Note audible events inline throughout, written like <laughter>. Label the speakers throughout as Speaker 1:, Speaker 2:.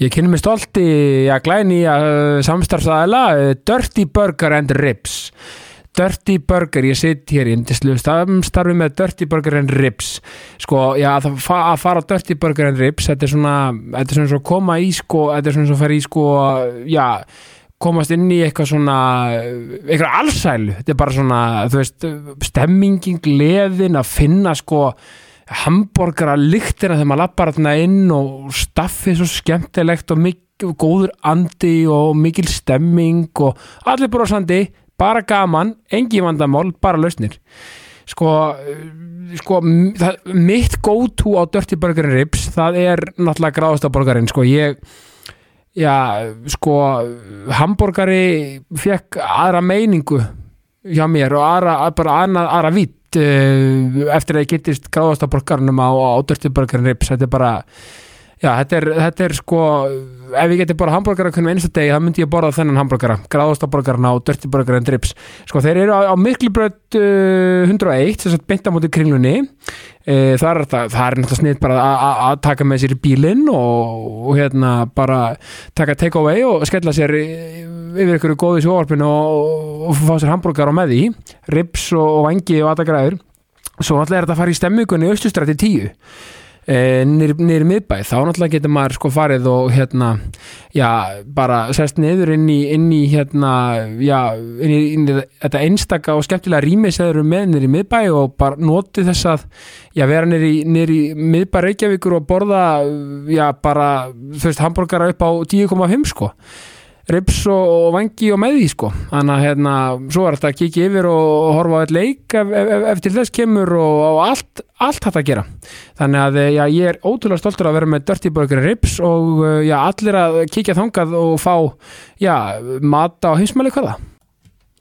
Speaker 1: Ég kynni mig stolt í að glæni að samstarfsaðala eh, Dirty Burger and Ribs Dirty Burger, ég sitt hér í indislu samstarfi með Dirty Burger and Ribs sko, já, að, fa að fara á Dirty Burger and Ribs, þetta er svona þetta er svona svo koma í sko þetta er svona svo fara í sko, já komast inn í eitthvað svona eitthvað allsælu, þetta er bara svona þú veist, stemmingin, gleðin að finna sko hambúrgara lyktina þegar maður lappar þarna inn og staffið svo skemmtilegt og mikil, góður andi og mikil stemming og allir brosandi, bara gaman engi vandamál, bara lausnir sko, eh, sko m- það, mitt go-to á Dirty Burger and Ribs, það er náttúrulega gráðasta borgarinn, sko, ég já, sko hambúrgari fekk aðra meiningu hjá mér og aðra, að- bara annað, aðra vitt uh, eftir að ég getist gráðasta borgarnum á, á dörtiborgarn rips, þetta er bara já, þetta er, þetta er sko ef ég geti bara hambúrgara hvernig einsta degi þá myndi ég borða þennan hambúrgara, gráðasta borgarna á dörtiborgarn rips, sko þeir eru á, á miklubröð uh, 101 þess að beinta móti kringlunni e, það, er, það, það er náttúrulega snitt bara að- að- að taka með sér í bílinn og, og hérna bara taka take away og skella sér í- yfir ykkur góðu sjóvarpinu og, og fá sér hambúrgar á með því rips og, og vangi og aðagræður svo náttúrulega er þetta að fara í stemmingunni austustrætti 10 e, nýri miðbæ þá náttúrulega getur maður sko farið og hérna já, bara sest niður inn í, inn í hérna, já, inn í, inn í þetta einstaka og skemmtilega rými sem þeir eru með niður í miðbæ og bara notið þess að, já, vera niður í, niður í miðbæ Reykjavíkur og borða, já, bara, þú veist, hambúrgara upp á 10,5 sko rips og, og vangi og með því sko þannig að hérna, svo er þetta að kikið yfir og horfa á eitt leik ef, ef, ef, ef til þess kemur og, og allt, allt hægt að gera þannig að eh, já, ég er ótrúlega stoltur að vera með Dirty Burger and Rips og eh, já, allir að kikið þangað og fá já, mata og heimsmæli hvaða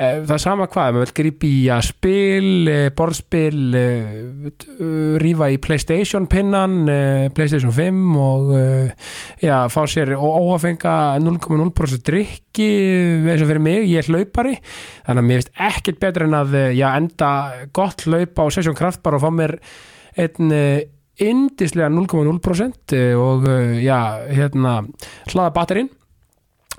Speaker 1: Það er sama hvað, maður vil grípa í að spil, eh, borðspil, eh, t- eh, rífa í Playstation pinnan, eh, Playstation 5 og eh, já, fá sér óafenga 0,0% drikki eh, eins og fyrir mig, ég er hlaupari þannig að mér finnst ekkert betur en að eh, já, enda gott hlaup á Session Kraftbar og fá mér einn eh, yndislega 0,0% eh, og eh, já, hérna hlaða batterinn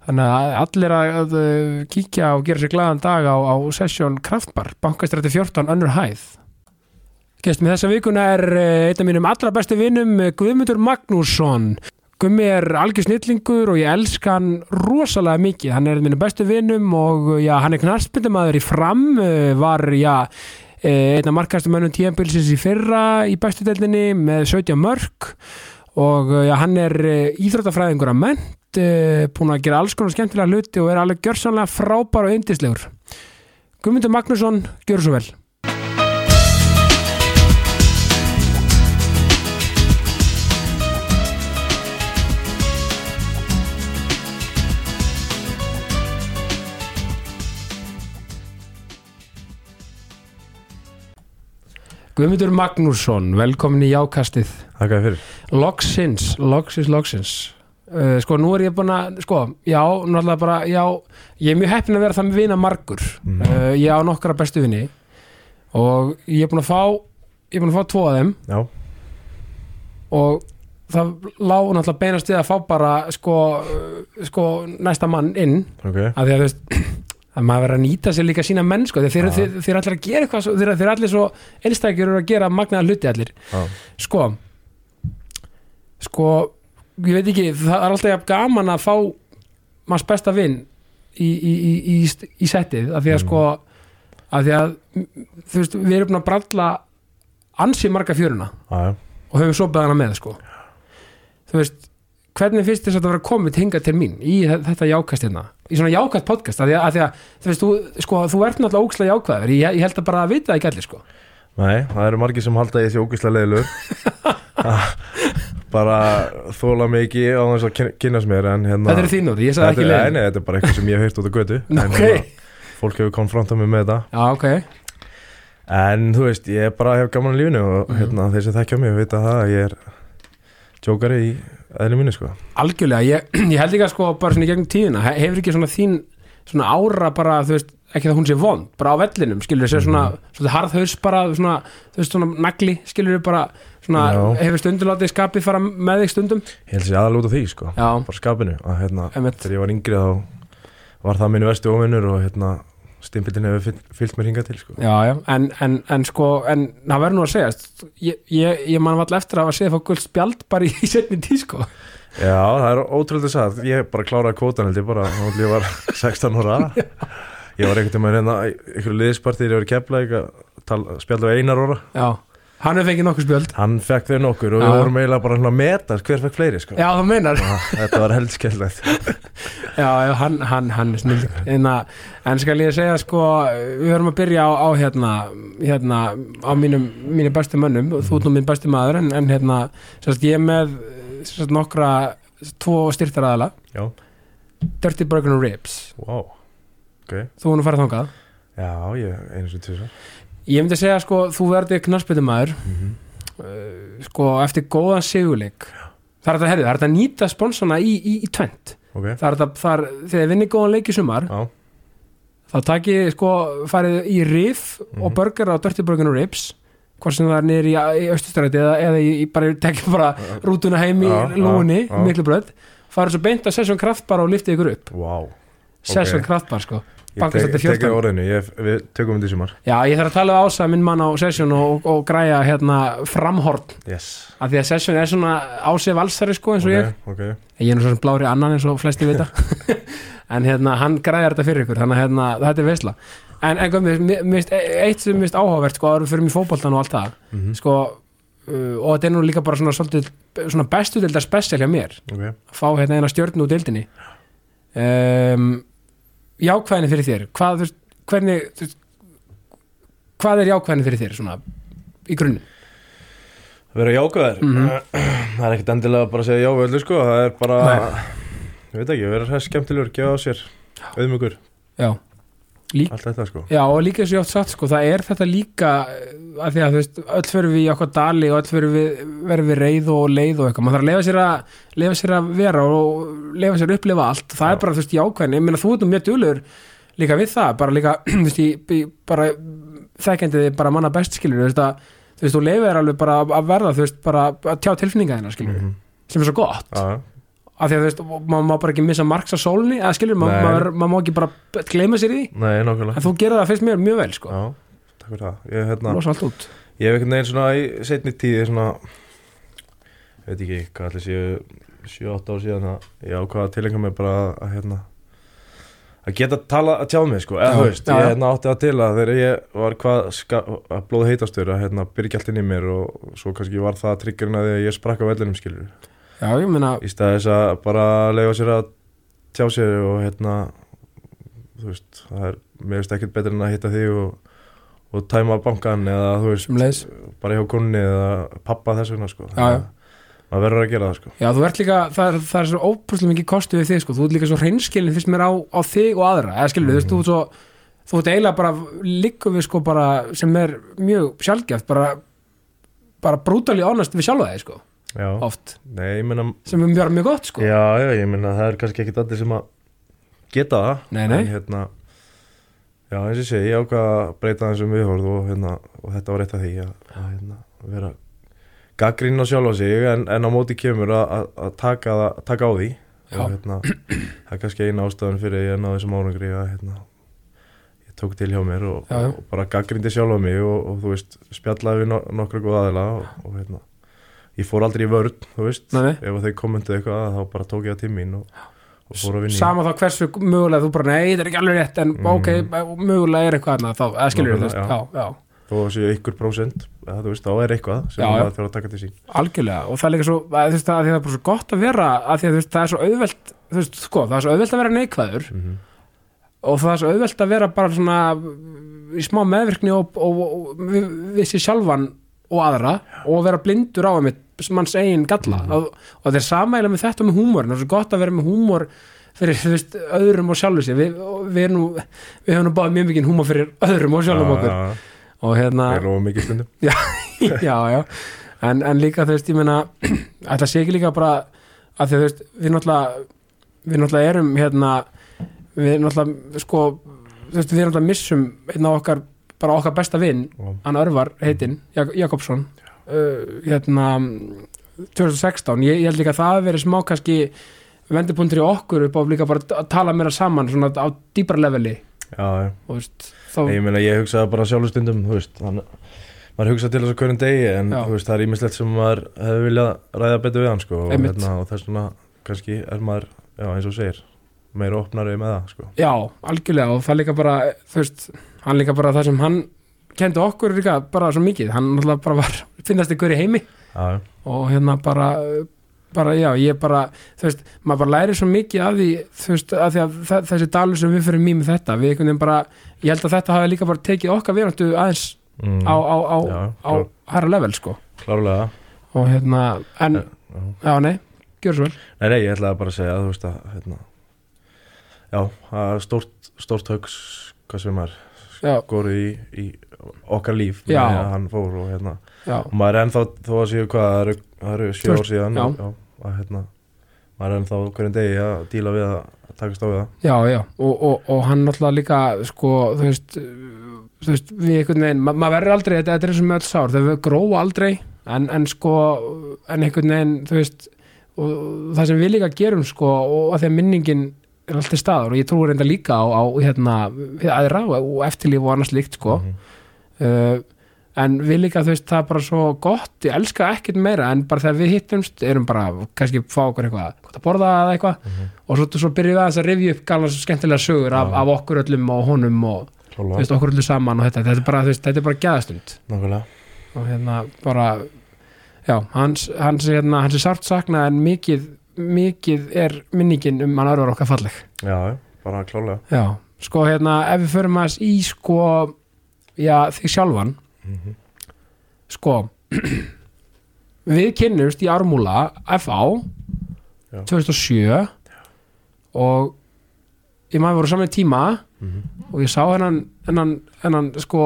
Speaker 1: þannig að allir að, að eh, kíkja og gera sér glaðan dag á, á Session Kraftbar bankastræti 14 önnur hæð Gestum í þessa vikuna er eh, einn af mínum allra bestu vinum eh, Guðmundur Magnússon Gummi er algjör snillingur og ég elska hann rosalega mikið. Hann er einn af mínum bestu vinum og eh, já, hann er knarspindamaður í fram, eh, var já, eh, einn af markastu mönnum tíðanbilsins í fyrra í bestu deildinni með 17 mörg og eh, já, hann er eh, íþróttafræðingur að ment, eh, búin að gera alls konar skemmtilega hluti og er alveg gjörsanlega frábær og yndislegur. Guðmundur Magnússon, gjör svo vel. Guðmundur Magnússon, velkomin í jákastið.
Speaker 2: Takk að fyrir
Speaker 1: Loksins, loksins, loksins uh, Sko, nú er ég búin að Sko, já, náttúrulega bara já, Ég er mjög heppin að vera það með vina margur
Speaker 2: Mm.
Speaker 1: uh, Ég á nokkra bestu vini Og ég er búin að fá Ég er búin að fá tvo af þeim
Speaker 2: Já,
Speaker 1: og það lá náttúrulega beinast við að fá bara sko, uh, sko næsta mann inn
Speaker 2: ok
Speaker 1: að því að þú veist <clears throat> að maður verður að nýta sér líka sína menn sko, því að þeir,
Speaker 2: Já.
Speaker 1: þeir, þeir allir að gera eitthvað svo- þeir, þeir allir svo einstakjur eru að gera magnaða hluti allir
Speaker 2: Já,
Speaker 1: sko sko, ég veit ekki það er alltaf jafn gaman að fá manns besta vinn í, í, í, í, í settið af því að
Speaker 2: Mm.
Speaker 1: sko af því að, þú veist, við erum búin að bralla ansi marga fjöruna
Speaker 2: já, já,
Speaker 1: og höfum svo beðana með sko þú veist, hvernig finnst þess að þetta vera komið hingað til mín í þe- þetta jákast hérna í svona jákast podcast, af því að, af því að þú veist, þú, sko, þú ert náttúrulega ókslega jákvæður ég, ég held að bara að vita það ekki allir, sko
Speaker 2: Nei, það eru margir sem halda að ég sé ógeðslega leiðilur <laughs> bara þóla mig ekki á þess að kyn- kynnast mér en hérna
Speaker 1: þetta er þín orð, ég
Speaker 2: Þetta
Speaker 1: sagði
Speaker 2: er-
Speaker 1: ekki
Speaker 2: Nei, nei,
Speaker 1: leið
Speaker 2: þetta er bara eitthvað sem ég hef heyrt út á
Speaker 1: <laughs>
Speaker 2: götu En
Speaker 1: Ok.
Speaker 2: hérna, Fólk hefur konfrontað mig með þetta
Speaker 1: já, ok,
Speaker 2: En þú veist, ég bara hef gaman í lífinu
Speaker 1: Mhm.
Speaker 2: og hérna, þeir sem þekkja mig vita það að ég er tjókari í eðli mínu sko
Speaker 1: algjörlega ég, <clears throat> ég held ekki að sko, bara svona í gegnum tíðina he- hefur ekki svona þín, svona ára bara, þú veist, ekki það hún sé vond bara á vellinum, skilur þessi svona, svona harðhaus bara, svona, þú veist, svona nagli skilur þessi bara, svona,
Speaker 2: Já.
Speaker 1: hefur stundum látið skapið fara með þig stundum
Speaker 2: Ég held sér aðal út á því sko
Speaker 1: já,
Speaker 2: Bara skapinu að hérna,
Speaker 1: emitt,
Speaker 2: þegar ég var yngri þá var það minn vestu óvinnur og hérna stimpillin hefur fyllt- fyllt mér hingað til sko
Speaker 1: Já, já, en, en, en sko en það verður nú að segjast ég, ég, ég man vall eftir að hafa séð fá guld spjald bara í sko. setni tísko
Speaker 2: Já, það er ótrúlega satt Ég bara kláraði kvotan held ég bara og ég var <laughs> 16 ára Ég var einhvern veginn hérna í einhverju liðspartir ég var kepla eitthvað spjallið við einar óra
Speaker 1: Já, hann hefur fengið nokkuð spjöld
Speaker 2: Hann fekk þau nokkur og við
Speaker 1: Já.
Speaker 2: vorum eiginlega bara hérna að meta hver fekk fleiri sko
Speaker 1: Já, það meinar
Speaker 2: Ah, Þetta var heldskellegt
Speaker 1: Já, já, hann, hann, hann er snill en, að- en skal ég segja sko við höfum að byrja á, á hérna, hérna á mínum, mínum bestu mönnum og þú ert nú minn bestu maður en, en hérna, sérst, ég er með sérst, nokkra tvo styrtaraðala
Speaker 2: Já,
Speaker 1: Dirty Burger and Ribs
Speaker 2: wow
Speaker 1: þú erum að fara þangað
Speaker 2: Já, ég eins og tvisar
Speaker 1: Ég myndi segja sko, þú verði knarsbyttumæður
Speaker 2: Mhm.
Speaker 1: uh, sko, eftir góðan sigurleik það er þetta, herrið, það er þetta að nýta sponsana í, í, í tvent
Speaker 2: Ok,
Speaker 1: það er þetta, það er, þegar þið vinnir góðan leik í sumar
Speaker 2: já,
Speaker 1: þá takið, þið, sko, farið í rif og
Speaker 2: Mhm.
Speaker 1: burger á Dirty Burger og Ribs hvort sem það er niður í, í Östustræti eða, eða í, í- bara tekið bara rútuna heim í
Speaker 2: Já, já,
Speaker 1: lúni,
Speaker 2: já.
Speaker 1: miklu bröð farið svo beint á Sessjón Kraftbar og liftið ykkur upp
Speaker 2: wow
Speaker 1: Sessjón Kraftbar, sko
Speaker 2: Ég
Speaker 1: Bankastræti
Speaker 2: tek,
Speaker 1: 14.
Speaker 2: tek orðinu, ég, við tökum þetta í sumar
Speaker 1: Já, ég þarf að tala við ása minn mann á Sessjón og, og græja hérna framhorn
Speaker 2: Yes
Speaker 1: að því að Session er svona ásef valsari sko eins og
Speaker 2: Ok,
Speaker 1: ég ég er nú svona blári annan eins og flesti vita en hérna hann græðir þetta fyrir ykkur þannig að hérna, þetta er veisla en, en komið, mist, e, eitt sem mist áhugavert sko áður en við fyrir mig fótboltan og allt það
Speaker 2: Mhm.
Speaker 1: sko uh, og þetta er nú líka bara svona, svolítið, svona bestu deildar spesial hjá mér
Speaker 2: ok
Speaker 1: að fá hérna eina stjörn úr deildinni um, jákvæðinni fyrir þér hvað, þú veist, hvernig þú veist, hvað er jákvæðinni fyrir þér svona í grunni
Speaker 2: Verða jákvæður
Speaker 1: Mhm.
Speaker 2: <clears throat> Það er ekkert endilega bara að segja já við öllu sko Það er bara, ég veit ekki, verða skemmtilegur, gefa á sér Auðmjögur,
Speaker 1: já Lík,
Speaker 2: allt þetta sko
Speaker 1: Já og líka eins og ég átt satt sko, það er þetta líka eh, að því að þú veist, öll fyrir við í okkar dali og öll fyrir við verðum við reið og leið og eitthvað, maður þarf að lefa sér að lefa sér að vera og lefa sér að upplifa allt það er
Speaker 2: Já.
Speaker 1: bara þú veist jákvæðin, ég meina þú ert nú mjög dulur líka við það, bara líka <clears throat> þú veist, ég, ég bara þekkjandi þið bara manna best skilur, þú veist að þú veist, þú leifir alveg bara að verða, þú veist bara að tjá tilfinninga þína skilur,
Speaker 2: Mhm.
Speaker 1: sem er svo gott
Speaker 2: Já, já.
Speaker 1: af því að þú veist, og maður má bara ekki missa marks að sólni, eða skilur, maður
Speaker 2: Nei.
Speaker 1: maður- maður má ekki bara gleyma sér í því,
Speaker 2: Nei, nákvæmlega
Speaker 1: en þú gerir það fyrst mér mjög vel sko,
Speaker 2: Já, takk fyrir það Ég, hérna,
Speaker 1: losa allt út
Speaker 2: ég hef einhvern veginn svona í setni tíði svona ég veit ekki, hvað allir séu 7-8 ár síðan að ég ákvaða að tilengja mig bara að, að hérna að geta tala að tjá mig sko eða
Speaker 1: Já,
Speaker 2: þú veist,
Speaker 1: já,
Speaker 2: ég
Speaker 1: já.
Speaker 2: hérna átti það til að þegar ég var hvað ska, að blóð heitastur að hérna byrja gæltinn í mér og svo kannski var það triggerinn að ég sprakk á vellinum skilur
Speaker 1: Já, ég meina,
Speaker 2: í stað þess að bara leifa sér að tjá sér og hérna þú veist, það er mér veist ekkert betur en að hitta því og, og tæma bankan eða þú veist
Speaker 1: sem leiðis
Speaker 2: bara hjá konni eða pappa þess vegna sko.
Speaker 1: Já, já.
Speaker 2: maður verður að gera það sko.
Speaker 1: Já, þú ert líka, það er, það er svo óprúslega mikið kostu við þig, sko, þú ert líka svo hreinskilin fyrst mér á, á þig og aðra, eða skilur, þú veist, þú ert svo þú ert eiginlega bara líka við, sko, bara, sem er mjög sjálfgeft, bara bara brútali honest við sjálfa þig, sko,
Speaker 2: já.
Speaker 1: oft,
Speaker 2: Nei, ég meina,
Speaker 1: sem er mjög, mjög gott, sko
Speaker 2: já, já, ég meina það er kannski ekkit allir sem að geta það
Speaker 1: Nei, nei.
Speaker 2: en hérna já, eins og ég segi, ég ákvað að breyta þessum viðhorð og, hérna, og þetta var eitt af því að, að hérna, vera gaggrinn á sjálfa sig en, en á móti kemur að- að að taka, það- taka á því
Speaker 1: Já.
Speaker 2: og hérna, það er kannski eina ástæðan fyrir ég náði þessum árangri að hérna, ég tók til hjá mér og,
Speaker 1: Já, já.
Speaker 2: og bara gaggrindi sjálf á mig og, og þú veist, spjallaði við no nokkra góð aðila og, og hérna, ég fór aldrei í vörð, þú veist,
Speaker 1: Nei, nei.
Speaker 2: ef þau kommentu eitthvað þá bara tók ég það til mín og, og fór að vinna
Speaker 1: sama þá hversu mögulega þú bara, nei, þetta er ekki alveg rétt en
Speaker 2: Mhm.
Speaker 1: ok, mögulega er eitthvað annað þá, eða skilur,
Speaker 2: Nákvæmlega,
Speaker 1: þú veist, já, já
Speaker 2: þó að séu ykkur prósent eða þú veist, þá er eitthvað sem
Speaker 1: Já, já.
Speaker 2: það þarf að taka til sín
Speaker 1: algjörlega og það er líka svo að, þú veist, að því það er bara svo gott að vera að því að þú veist, það er svo auðvelt þú veist, sko, það er svo auðvelt að vera neikvæður
Speaker 2: mm -hmm.
Speaker 1: og það er svo auðvelt að vera bara svona í smá meðvirkni og, og, og við, við sér sjálfan og aðra og vera blindur á einmitt manns eigin galla og, og það er samægilega með þetta og með húmórin það er svo gott að vera með húmór fyrir þú veist, öðrum og sjálfu sér við, og við, erum nú, við hefum nú báð mjög mikið húmór fyrir öðrum og sjálfum okkur og hérna
Speaker 2: er ofan mikið stundum
Speaker 1: <laughs> já, já en, en líka þú veist, ég meina <clears throat> ætla sé ekki líka bara að því að, þú veist, við náttúrulega við náttúrulega erum hérna við náttúrulega sko þú veist, við náttúrulega missum einn á okkar bara okkar besta vinn,
Speaker 2: Já.
Speaker 1: hann Örvar heitinn, Jak Jakobsson uh, hérna 2016, ég, ég held líka að það hafi verið smá kannski vendipuntur í okkur upp á líka bara að tala meira saman svona á dýpra leveli
Speaker 2: já, já.
Speaker 1: og þú veist, þá,
Speaker 2: Nei, ég meina ég hugsaði bara sjálfur stundum þú veist, hann, maður hugsaði til þess að hverjum degi en
Speaker 1: Já.
Speaker 2: þú veist, það er ímislegt sem maður hefði viljað ræða betur við hann sko, og,
Speaker 1: Einmitt.
Speaker 2: og þess vegna kannski er maður, já, eins og þú segir meira opnari með það sko.
Speaker 1: Já, algjörlega og það líka bara, þú veist, hann líka bara það sem hann kendi okkur líka bara svo mikið, hann náttúrulega bara var <laughs> finnast ykkur í heimi
Speaker 2: já, já.
Speaker 1: og hérna bara, uh, bara já, ég bara, þú veist, maður bara læri svo mikið af því, þú veist, af því að þa- þessi dalur sem við fyrir mým þetta, við einhvern veginn bara, ég held að þetta hafi líka bara tekið okkar verandi aðeins
Speaker 2: Mm,
Speaker 1: á, á, á,
Speaker 2: Já,
Speaker 1: á
Speaker 2: klár.
Speaker 1: hæra level, sko,
Speaker 2: klárlega
Speaker 1: og hérna, en,
Speaker 2: já.
Speaker 1: já, nei, gjör svo vel,
Speaker 2: Nei, nei, ég ætlaði bara að segja að þú veist að hérna, já, að stórt, stórt högs hvað sem er
Speaker 1: já,
Speaker 2: góri í, í okkar líf
Speaker 1: Já.
Speaker 2: meðan hann fór og hérna
Speaker 1: já,
Speaker 2: og maður er ennþá, þó að séu hvað það eru- það eru sjö
Speaker 1: Tvö-
Speaker 2: ár síðan
Speaker 1: já.
Speaker 2: og- já, að hérna maður er ennþá hverjum degi að díla við að takast á við það
Speaker 1: Já, já, og, og, og hann náttúrulega líka, sko, þú veist, uh, þú veist, við einhvern veginn, ma maður verður aldrei, þetta, þetta er eins og með öll sár, þau gróa aldrei, en, en sko, en einhvern veginn, þú veist, og, og það sem við líka gerum, sko, og að því að minningin er alltaf staðar og ég trúi reynda líka á, á hérna, við aðra og, og eftirlíf og annars líkt, sko,
Speaker 2: Mhm.
Speaker 1: uh, en við líka þú veist það er bara svo gott, ég elska ekkert meira en bara þegar við hittumst erum bara kannski fá okkur eitthvað, gott að borða eða eitthvað og svo, svo byrjum við aðeins að rifja upp galans og skemmtilega sögur af, af okkur öllum og honum og þú
Speaker 2: Klálega,
Speaker 1: veist, okkur öllum saman og þetta, þetta er bara, þú veist, þetta er bara gæðastund
Speaker 2: nákvæmlega
Speaker 1: og hérna bara já, hans, hans, er hérna, hans er sárt saknað en mikið, mikið er minningin um hann örvar okkar falleg
Speaker 2: Já, já, bara klálega
Speaker 1: Já, sko hérna ef við förum aðeins í sko já, þig sjálfan
Speaker 2: Mhm.
Speaker 1: sko <clears throat> við kynnumst í Ármúla FA
Speaker 2: Já.
Speaker 1: 2007 og ég maður voru saman í tíma og ég sá hennan, hennan, hennan sko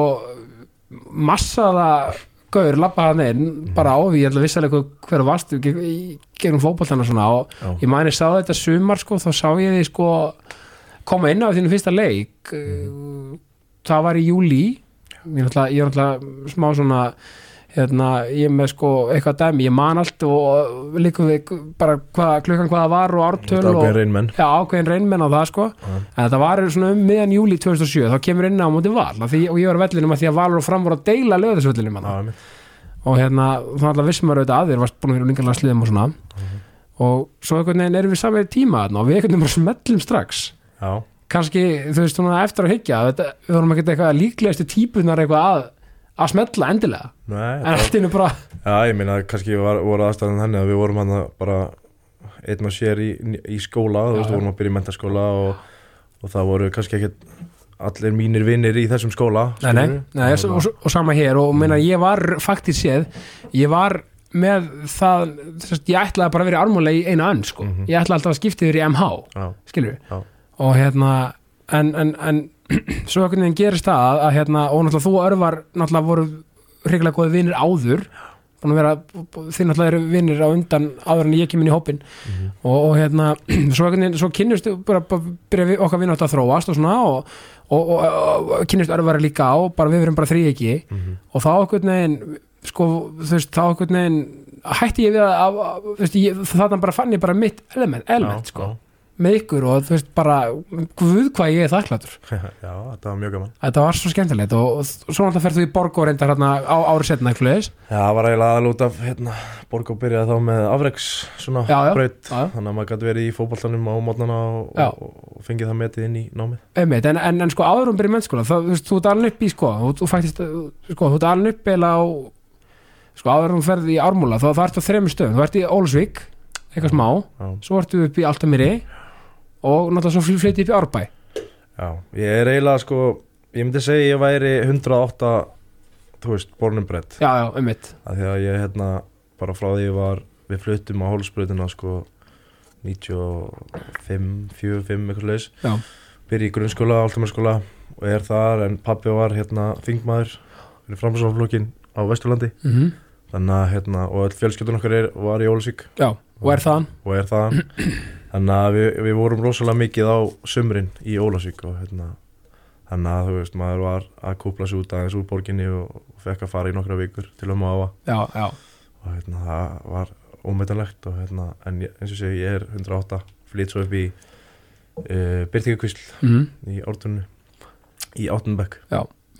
Speaker 1: massaða gaur labba hann inn bara á því ég ætla að vissalega hver varst í í- gegnum fótboltana svona og
Speaker 2: Já,
Speaker 1: ég mæni sá þetta sumar sko, þá sá ég því sko koma inn á þínu fyrsta leik
Speaker 2: Mhm.
Speaker 1: það var í júli ég er náttúrulega, ég er náttúrulega smá svona hérna, ég er með sko eitthvað dæmi, ég man allt og líka við bara hvað, klukkan hvaða var og ártöl
Speaker 2: þetta er
Speaker 1: og
Speaker 2: ákveðin reynmenn
Speaker 1: já, ákveðin reynmenn á það sko
Speaker 2: Já.
Speaker 1: en þetta var svona um miðan júli 2007 þá kemur inn á móti val af því, og ég var á vellinum að því að valur og fram voru að deila löðisvellinum
Speaker 2: Já, einmitt.
Speaker 1: og hérna, þá alltaf vissum maður auðvitað að þér varst búin að vera língarlega sliðum og svona
Speaker 2: Mhm.
Speaker 1: og svo einhvern veginn erum við saman í tíma þarna, og við einhvern veginn bara smellum strax
Speaker 2: já,
Speaker 1: kannski, þú veist, svona eftir að hyggja þetta, við vorum ekkert eitthvað líklegustu típunar eitthvað að, að smella endilega
Speaker 2: nei
Speaker 1: en
Speaker 2: það-
Speaker 1: allt innu bara,
Speaker 2: Já, ég meina kannski var, voru aðstæðan þannig að við vorum hann bara einn og sér í, í skóla, þú
Speaker 1: Já,
Speaker 2: veist,
Speaker 1: já.
Speaker 2: vorum að byrja í mentaskóla og, og það voru kannski ekkert allir mínir vinnir í þessum skóla
Speaker 1: nei, nei,
Speaker 2: skilurðu. Mhm.
Speaker 1: nei og, og, og sama hér og meina, ég var faktiskt séð ég var með það sérst, ég ætlaði bara að vera armúlega í eina önn sko.
Speaker 2: Mhm.
Speaker 1: ég ætlaði alltaf að skipta yfir í MH
Speaker 2: Já,
Speaker 1: skilur
Speaker 2: Já.
Speaker 1: og hérna en, en, en <clears throat> svo einhvern veginn gerist það að, að hérna, og náttúrulega þú og örvar náttúrulega voru hreiklega góði vinir áður búin að vera, þið náttúrulega eru vinir á undan áður en ég kem inn í hópin
Speaker 2: Mhm.
Speaker 1: og, og hérna, <clears throat> svo einhvern veginn svo kynnust, bara, bara byrja við okkar vinnátt að þróast og svona og, og, og, og, og kynnust örvar líka á, bara við verum bara þrý ekki
Speaker 2: Mhm.
Speaker 1: og þá einhvern veginn sko, þú veist, þá einhvern veginn hætti ég við að, að, að þú veist, ég, þarna bara fann ég bara mitt element, element
Speaker 2: já,
Speaker 1: sko
Speaker 2: já.
Speaker 1: með ykkur og þú veist bara guð hvað ég er þakklátur
Speaker 2: já, <laughs> þetta var mjög gaman
Speaker 1: þetta var svo skemmtilegt og, og svo náttúrulega ferð þú í borg og reyndar hérna á ári setna eitthvað leðis
Speaker 2: Já, það var eiginlega aðal út af hérna, Borgó byrjaði þá með afreks svona
Speaker 1: Já, já,
Speaker 2: braut
Speaker 1: já, já.
Speaker 2: þannig að maður gæti verið í fótboltanum á mótnana og,
Speaker 1: Já.
Speaker 2: og, og fengið það metið inn í námið
Speaker 1: en, en, en sko áður um byrja mennskóla það, þú, veist, þú ert alveg upp í sko þú, þú, fættist, sko, þú ert alveg upp eða á sko áður um ferð í ármúla þá það ert á þremur stöðum, þú ert í Ólsvík eitthvað smá,
Speaker 2: Já,
Speaker 1: svo ertu upp í Altamiri og náttúrulega svo flytti upp í Árbæ
Speaker 2: já, ég er eiginlega sko ég myndi segja ég væri 108 þú veist, bornum brett
Speaker 1: já, já, um mitt
Speaker 2: af því að ég hérna bara frá því ég var við fluttum á hólsbrautina sko 95, 45 eitthvað leis
Speaker 1: Já.
Speaker 2: byrja í grunnskóla, áltamarskóla og er þar en pappi var hérna þingmaður fyrir framsóknarflokkin á Vesturlandi
Speaker 1: mm
Speaker 2: þannig að hérna og öll fjölskyldun okkar er, var í Ólusík
Speaker 1: já, og er þaðan
Speaker 2: og er þaðan þannig að við, við vorum rosalega mikið á sumrin í Ólusík og hérna þannig að þú veist maður var að kúpla sig út aðeins úr borginni og, og fekk að fara í nokkra vikur til um að máa
Speaker 1: já, já,
Speaker 2: og hérna, það var ómetanlegt og hérna, en ég, eins og segi ég er 108, flýt svo upp í uh, Byrtingakvísl
Speaker 1: mm
Speaker 2: í ártunni í áttunbekk,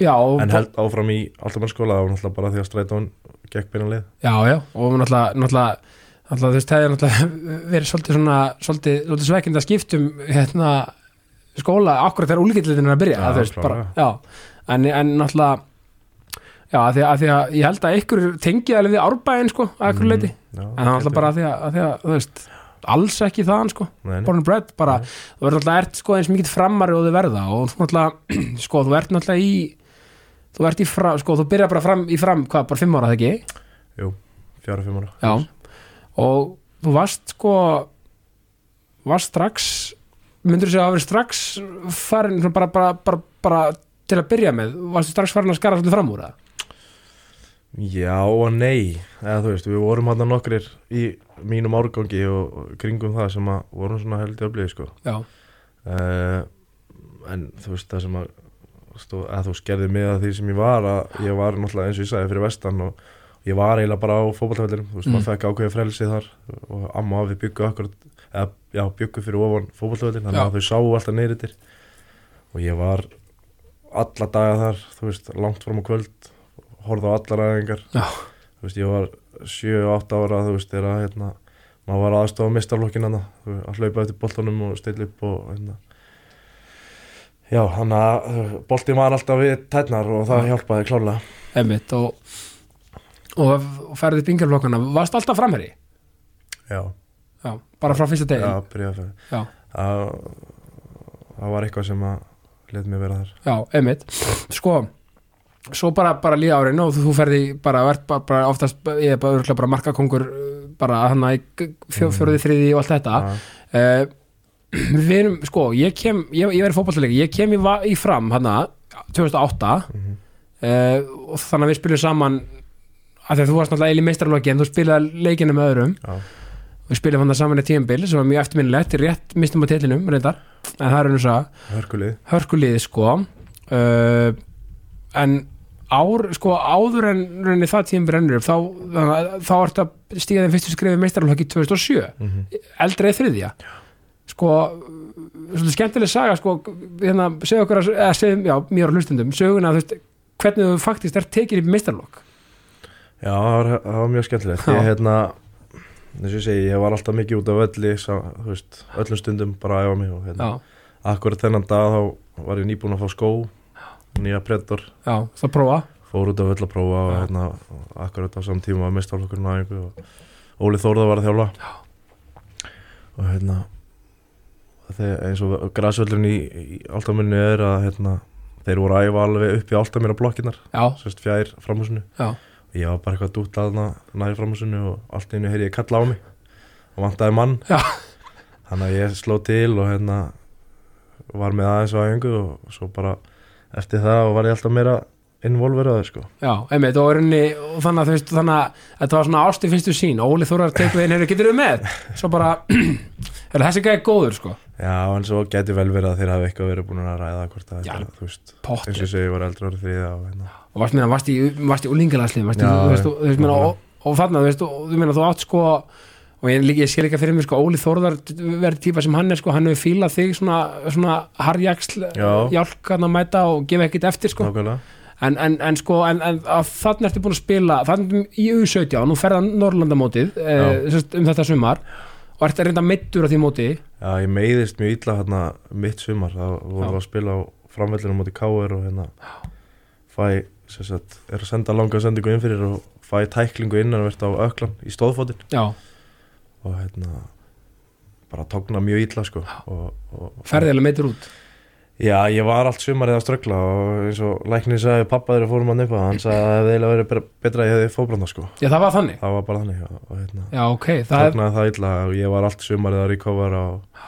Speaker 1: já og-
Speaker 2: en held áfram í Altamannskóla, það var náttúrulega bara því að strætón gekk beina leið,
Speaker 1: Já, já, og náttúrulega, náttúrulega, náttúrulega þú veist, það er náttúrulega <laughs> verið svolítið svona, svolítið, svolítið svekind að skiptum hérna skóla, akkurat þegar úlgitlitin er að byrja,
Speaker 2: Já,
Speaker 1: að, þú veist, bara,
Speaker 2: klárlega.
Speaker 1: já, en, en náttúrulega, já, að því, að því að ég held að ykkur tengið alveg við árbæðin, sko, að ykkur leiti,
Speaker 2: Mm, já,
Speaker 1: en það er náttúrulega bara að því að, að því að, þú veist, alls ekki þaðan, sko,
Speaker 2: Nei, nei.
Speaker 1: born and bred, bara, þú verður náttúrulega ert, sko, eins mikið framari og þau verða og þú náttúrulega, <clears throat> sko, þú ert náttúrulega í, þú ert í fram, sko, þú byrjar bara fram, í fram, hvað, bara fimm ára, það ekki?
Speaker 2: Jú, fjára, fimm ára
Speaker 1: Já, og þú varst sko varst strax myndur þú segja að hafa verið strax farin svona bara, bara, bara, bara til að byrja með, varstu strax farin að skara svolítið fram úr það?
Speaker 2: Já og nei, eða þú veist, við vorum hann nokkrir í mínum árgangi og og kringum það sem að vorum svona heldur að bliði sko
Speaker 1: Já,
Speaker 2: uh, en þú veist það sem að, stó, að þú skerði mig að því sem ég var að ég var náttúrulega eins og ég sagði fyrir vestan og ég var eiginlega bara á fótballtafellinu þú veist
Speaker 1: Mm.
Speaker 2: maður fekk ákveðið frelsi þar og amma og afi byggu akkur eða, já, byggu fyrir ofan fótballtafellinu þannig
Speaker 1: Já.
Speaker 2: að þau sáu alltaf neyritir og ég var alla daga þar þú veist langt fram á kvöld horfði á allar aðeingar
Speaker 1: Já.
Speaker 2: þú veist ég var 7-8 ára þú veist þegar að, hérna maður var aðstofa mistarlokkin hann að hlaupa eftir boltanum og stilla upp og hérna já, hann að boltin var alltaf við tætnar og það hjálpaði klárlega
Speaker 1: einmitt og, og, og ferðið bingarflokkana, varst alltaf framherri?
Speaker 2: já,
Speaker 1: Já, bara frá fyrsta degi?
Speaker 2: já, byrjaði fyrir
Speaker 1: Já.
Speaker 2: það það var eitthvað sem að let mér vera þar
Speaker 1: Já, einmitt Sko, svo bara, bara líða árin og þú ferði bara, verð bara, bara oftast, ég er bara, örugglega bara markakongur uh, bara hann að fjó, fjóruði þriði og allt þetta
Speaker 2: Já.
Speaker 1: uh, <clears throat> Við erum, sko, ég kem ég, ég verið fótballtilega, ég kem í, va- í fram hann 2008
Speaker 2: Mhm.
Speaker 1: uh, og þannig að við spilum saman af því að þú varst náttúrulega eil í meistarloki en þú spilaði leikinu með öðrum
Speaker 2: já,
Speaker 1: við spilum hann saman í tíumbil sem var mjög eftirminnilegt, rétt mistum á titlinum reyndar, en það er einu saga
Speaker 2: hörkulið
Speaker 1: hörkuliði sko uh, en ár, sko, áður en rauninni það tíðum brennur upp þá, þá, þá ertu að stíga þeim fyrstu skrifi meistarlokki 2007,
Speaker 2: mm
Speaker 1: eldri eða þriðja sko svolítið skemmtileg saga sko hérna, segja okkur, að, eða segjum, já, mér og hlustendum söguna, þú veist, hvernig þú faktist er tekið í meistarlokk
Speaker 2: já, það var, það var mjög skemmtilegt
Speaker 1: Já.
Speaker 2: ég hérna eins og ég segi, ég var alltaf mikið út af öllu þú veist, öllum stundum bara að æfa mig og hérna,
Speaker 1: já,
Speaker 2: akkur þennan dag þá var ég nýbúin að fá skó nýja pretor
Speaker 1: já, það prófa
Speaker 2: fór út af öll að prófa og
Speaker 1: Já.
Speaker 2: hérna, akkurat á samtíma að mista okkur næðingu og Óli Þórða var að þjálfa Já. og hérna þeir, eins og græsvöllun í, í Altamyrnu er að hérna, þeir voru að æfa alveg upp í Altamyrna blokkinar
Speaker 1: já,
Speaker 2: sérst fjær framhúsinu
Speaker 1: já,
Speaker 2: og ég var bara eitthvað dútt að hana næri framhúsinu og allt í einu heyri ég kalla á mig og vantaði mann
Speaker 1: Já.
Speaker 2: þannig að ég sló til og hérna var með aðeins á æfingu og svo bara eftir það var ég alltaf meira involveraður sko
Speaker 1: já, einmitt og, rauninni, og þannig að þú veist, þannig að þetta var svona ástu fyrstu sín, Óli Þórar tekur einn hefur getur við með, svo bara <clears throat> er þessi gæði góður sko
Speaker 2: Já, en svo getur vel verið að þeir hafi eitthvað verið búin að ræða hvort að
Speaker 1: Já,
Speaker 2: þetta, þú veist, eins og
Speaker 1: pottir
Speaker 2: ég segi, ég var eldra árið þriða og hérna.
Speaker 1: og varst meina, varst í, varst í úlingalagsliðum varst í,
Speaker 2: Já,
Speaker 1: þú veist, þú- þú veist meina
Speaker 2: já.
Speaker 1: og, og þarna, þú veist, og, þú meina þú átt sko og og ég, líka, ég sé líka fyrir mér sko Óli Þórðar verði típa sem hann er sko hann hefur fílað þig svona, svona harjaksl
Speaker 2: Já.
Speaker 1: jálkan að mæta og gefa ekkert eftir sko
Speaker 2: nákvæmlega
Speaker 1: en, en, en sko en, en að þannig ertu búin að spila þannig í U17 og nú ferða Norrlandamótið e,
Speaker 2: Já.
Speaker 1: sérst, um þetta sumar og ert að reynda meittur á því móti
Speaker 2: Já, ég meiðist mjög illa hérna mitt sumar þá vorum við að spila á framvellinu móti K.R. og hérna fæ, sem sagt, er að senda langa sendingu inn fyrir og fæ tæklingu innanvert á öklan í stóðfótinn
Speaker 1: já,
Speaker 2: og hérna bara tókna mjög illa sko og, og,
Speaker 1: ferðilega meittur út
Speaker 2: Já, ég var allt sumarið að ströggla og eins og læknir sagði pappa þeirra fórum að nefna hann sagði að það hefði eiginlega verið betra- betra að ég hefði fóbranda sko
Speaker 1: já það var þannig,
Speaker 2: það var bara þannig og, og hérna
Speaker 1: já ok það er,
Speaker 2: tóknaði það illa og ég var allt sumarið að recovera og,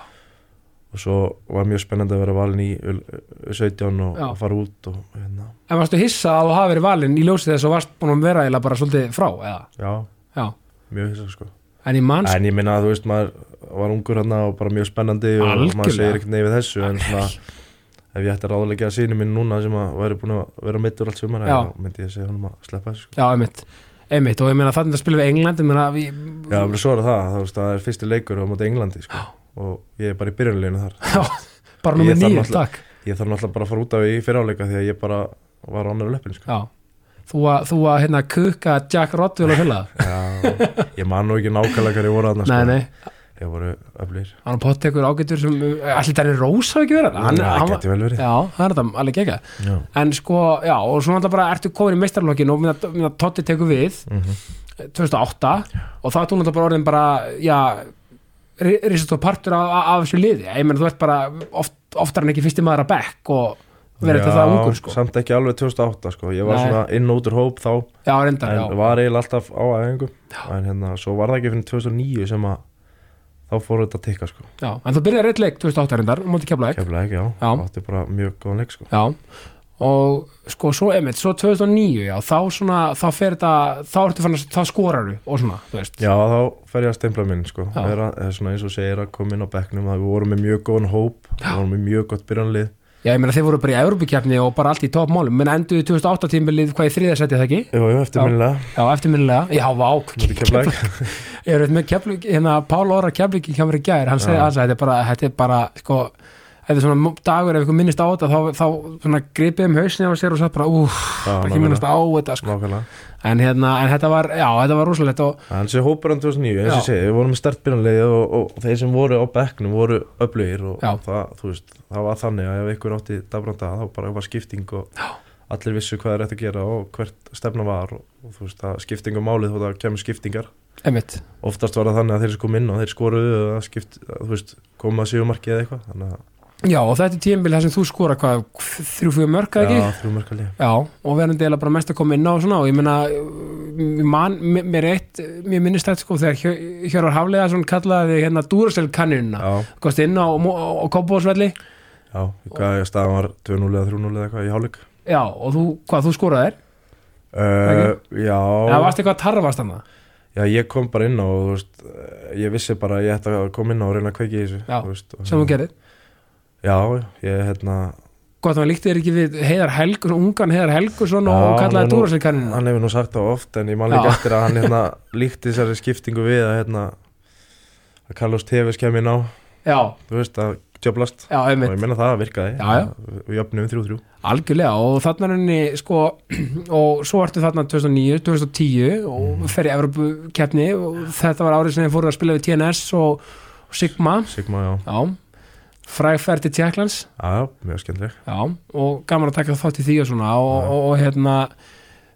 Speaker 2: og svo var mjög spennandi að vera valin í U- U- 17 og,
Speaker 1: Já.
Speaker 2: og fara út og hérna,
Speaker 1: en varstu hissa að þú hafa verið valinn í ljósið þess og varst búin að vera eiginlega bara svolítið frá eða,
Speaker 2: já,
Speaker 1: já,
Speaker 2: mjög hissa sko
Speaker 1: en ég manns
Speaker 2: en ég minna að þú veist maður var ungur hérna og bara mjög spennandi og
Speaker 1: Algjörlega.
Speaker 2: maður segir ekkert neyfið þessu en svona ef ég ætti að ráðleika að síni minn núna sem að væri búin að vera mittur allt sumar
Speaker 1: Já.
Speaker 2: þá myndi ég segja honum að sleppa þessu sko.
Speaker 1: já, einmitt, einmitt og ég meina þannig að spila við England ég meina, við,
Speaker 2: Já, menn svo er það, þú veist, það er fyrsti leikur á móti Englandi, sko, og ég er bara í byrjunleginu þar.
Speaker 1: já, bara
Speaker 2: Ég
Speaker 1: nummer
Speaker 2: þarf
Speaker 1: nýjum,
Speaker 2: náttúrulega-
Speaker 1: takk
Speaker 2: Ég þarf náttúrulega bara að fara út af í fyrráleika því að ég bara var á annar löppin, sko.
Speaker 1: já, þú að, þú að hérna kuka Jack Rodwell og hula
Speaker 2: Já, ég man nú ekki nákvæmlega hverju voru aðna, sko.
Speaker 1: nei, nei,
Speaker 2: Ég voru öflir.
Speaker 1: hann pott ekkur ágætur sem eh, allir þannig rós hafi ekki verið hann,
Speaker 2: Já, það
Speaker 1: hann,
Speaker 2: geti vel verið.
Speaker 1: já, það er þetta alveg ekki
Speaker 2: Já.
Speaker 1: en sko, já, og svona alltaf bara ertu komin í meistarlokkin og minna, minna Totti tekur við
Speaker 2: Mm
Speaker 1: 2008 og þá ertu náttúrulega bara orðin bara, já risast og partur af, af- af þessu liði ég meina þú ert bara oft, oftar en ekki fyrsti maður að bekk og verið þetta það ungur sko
Speaker 2: Samt ekki alveg 2008, sko. Ég var
Speaker 1: Nei.
Speaker 2: svona inn og út úr hóp þá,
Speaker 1: já, reyndar,
Speaker 2: en
Speaker 1: já,
Speaker 2: var eiginlega alltaf á aðeingum. En hérna, svo var það ekki fyrir 2009 sem að þá fór þetta að tikka, sko.
Speaker 1: já en þú byrjar eitt leik 2008 reyndar, um móti keflaðik
Speaker 2: Kefla ekki, já.
Speaker 1: Já.
Speaker 2: Það átti bara mjög góðan leik, sko.
Speaker 1: já, og sko svo emitt, svo 2009 já, þá svona, þá fer þetta þá ertu fann að, þá skorar þú og svona, þú veist
Speaker 2: Já, þá fer ég að stempla minn sko.
Speaker 1: Já.
Speaker 2: Vera, eða svona eins og segir að koma inn á bekknum að við vorum með mjög góðan hóp við vorum með mjög gott byrjanlið
Speaker 1: Já, ég meina þeir voru bara í Evrópukefni og bara allt í topmálum menn enduðu 2008 tímbilið hvað í þriða setja það ekki?
Speaker 2: Jú, jú, eftirminnilega
Speaker 1: Já, eftirminnilega, já, vá
Speaker 2: Móti Keflavík. <laughs>
Speaker 1: Ég er veit með keflug, hérna Pál Óra keflug í kemur í gær, hann segi
Speaker 2: Já.
Speaker 1: að þetta er bara þetta er bara, sko þetta er svona mo- dagur ef ykkur minnist á þetta þá, þá svona gripið um hausni á sér og satt bara úf,
Speaker 2: Já,
Speaker 1: bara ekki
Speaker 2: nákvæmlega.
Speaker 1: minnast á þetta sko.
Speaker 2: Nákvæmlega
Speaker 1: en hérna, en þetta var, já, þetta var rosalegt og
Speaker 2: En þessi hópur hann 2009, eins og
Speaker 1: Já.
Speaker 2: ég segi, við vorum með stert byrjanlið og, og þeir sem voru á bekknum voru öflugir og
Speaker 1: Já.
Speaker 2: það, þú veist, það var þannig að ef einhver átti dabranda þá bara var skipting og Já. allir vissu hvað er rétt að gera og hvert stefna var og, og þú veist, það skipting og málið þó það kemur skiptingar
Speaker 1: einmitt,
Speaker 2: Oftast var það þannig að þeir sem kom inn og þeir skoruðu að skipt, að, þú veist, koma að sigumarki eða eitthvað Þannig að
Speaker 1: já, og þetta er tímbilið þar sem þú skora hvað, þrjú fyrir mörg eða ekki?
Speaker 2: Já, þrjú mörg að liða
Speaker 1: Já, og verðandi eiginlega bara mest að koma inn á og svona og ég meina, uh, man, mér- mér er eitt, uh, mér minnist þetta sko þegar Hjör- Hjörvar Haflega svona kallaði hérna Duracell kannunina,
Speaker 2: Já,
Speaker 1: kosti inn á og, og, og kópbóðsvelli,
Speaker 2: já, hvað ég staðan var 2-0 eða 3-0 eða eitthvað í hálfleik
Speaker 1: já, og þú, hvað þú skoraði þér?
Speaker 2: uh,
Speaker 1: Eða
Speaker 2: Já,
Speaker 1: varst eitthvað að tarfast hann það?
Speaker 2: já, ég kom bara inn á og þú veist, eh, ég vissi bara að ég ætti að koma inn á og reyna að kveiki í þessu
Speaker 1: Já,
Speaker 2: þú veist, og,
Speaker 1: Sem þú gerðið?
Speaker 2: Já, ég, hérna,
Speaker 1: Gott, hann líkti þér ekki við Heiðar Helgur, ungan Heiðar Helgursson og,
Speaker 2: Já,
Speaker 1: og
Speaker 2: hann er
Speaker 1: kallaði
Speaker 2: nú-
Speaker 1: Duracell kannunina.
Speaker 2: hann hefur nú sagt það oft en ég man
Speaker 1: Mm. Já.
Speaker 2: líka eftir að hann hérna, líkti þessari skiptingu við að, hérna, að Carlos Tevez kemur inn á
Speaker 1: Já,
Speaker 2: þú veist, að djöblast
Speaker 1: já,
Speaker 2: og
Speaker 1: einmitt,
Speaker 2: ég meina það virkaði
Speaker 1: Já, já.
Speaker 2: Við jöfnum 3-3
Speaker 1: algjörlega og þarna er henni, sko, <clears throat> og svo ertu þarna 2009, 2010 og fer í Evropukeppni og þetta var árið sem þeir fóru að spila við TNS og, og Sigma,
Speaker 2: Sigma, já,
Speaker 1: já frægferð til Tjekklands,
Speaker 2: já, já, mjög skemmtileg
Speaker 1: já og gaman að taka þátt í því og svona og,
Speaker 2: Já.
Speaker 1: og, og hérna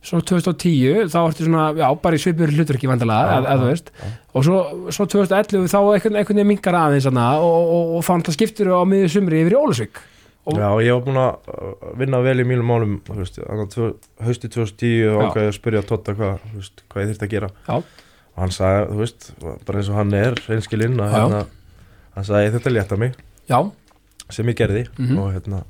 Speaker 1: svo 2010, þá ertu svona, já, bara í svipur hlutverki vandalega,
Speaker 2: Já,
Speaker 1: eða þú veist
Speaker 2: já.
Speaker 1: og svo, svo 2011 þá einhvern, einhvern veginn mingar aðeins hana, og, og, og þá náttúrulega skiptur á miður sumri yfir í Ólusvík Og-
Speaker 2: Já, ég var búinn að uh, vinna vel í mínum málum þú veist, þannig að tvö- haustið 2010 og
Speaker 1: Já.
Speaker 2: ákvæði að spyrja Totta hvað, þú veist, hvað ég þyrfti að gera
Speaker 1: Já.
Speaker 2: og hann sagði, þú veist, bara eins og hann er reynskilinn að
Speaker 1: Já.
Speaker 2: hérna, hann sagði ég þurfti að létta mig
Speaker 1: já,
Speaker 2: sem ég gerði
Speaker 1: Mhm.
Speaker 2: og hérna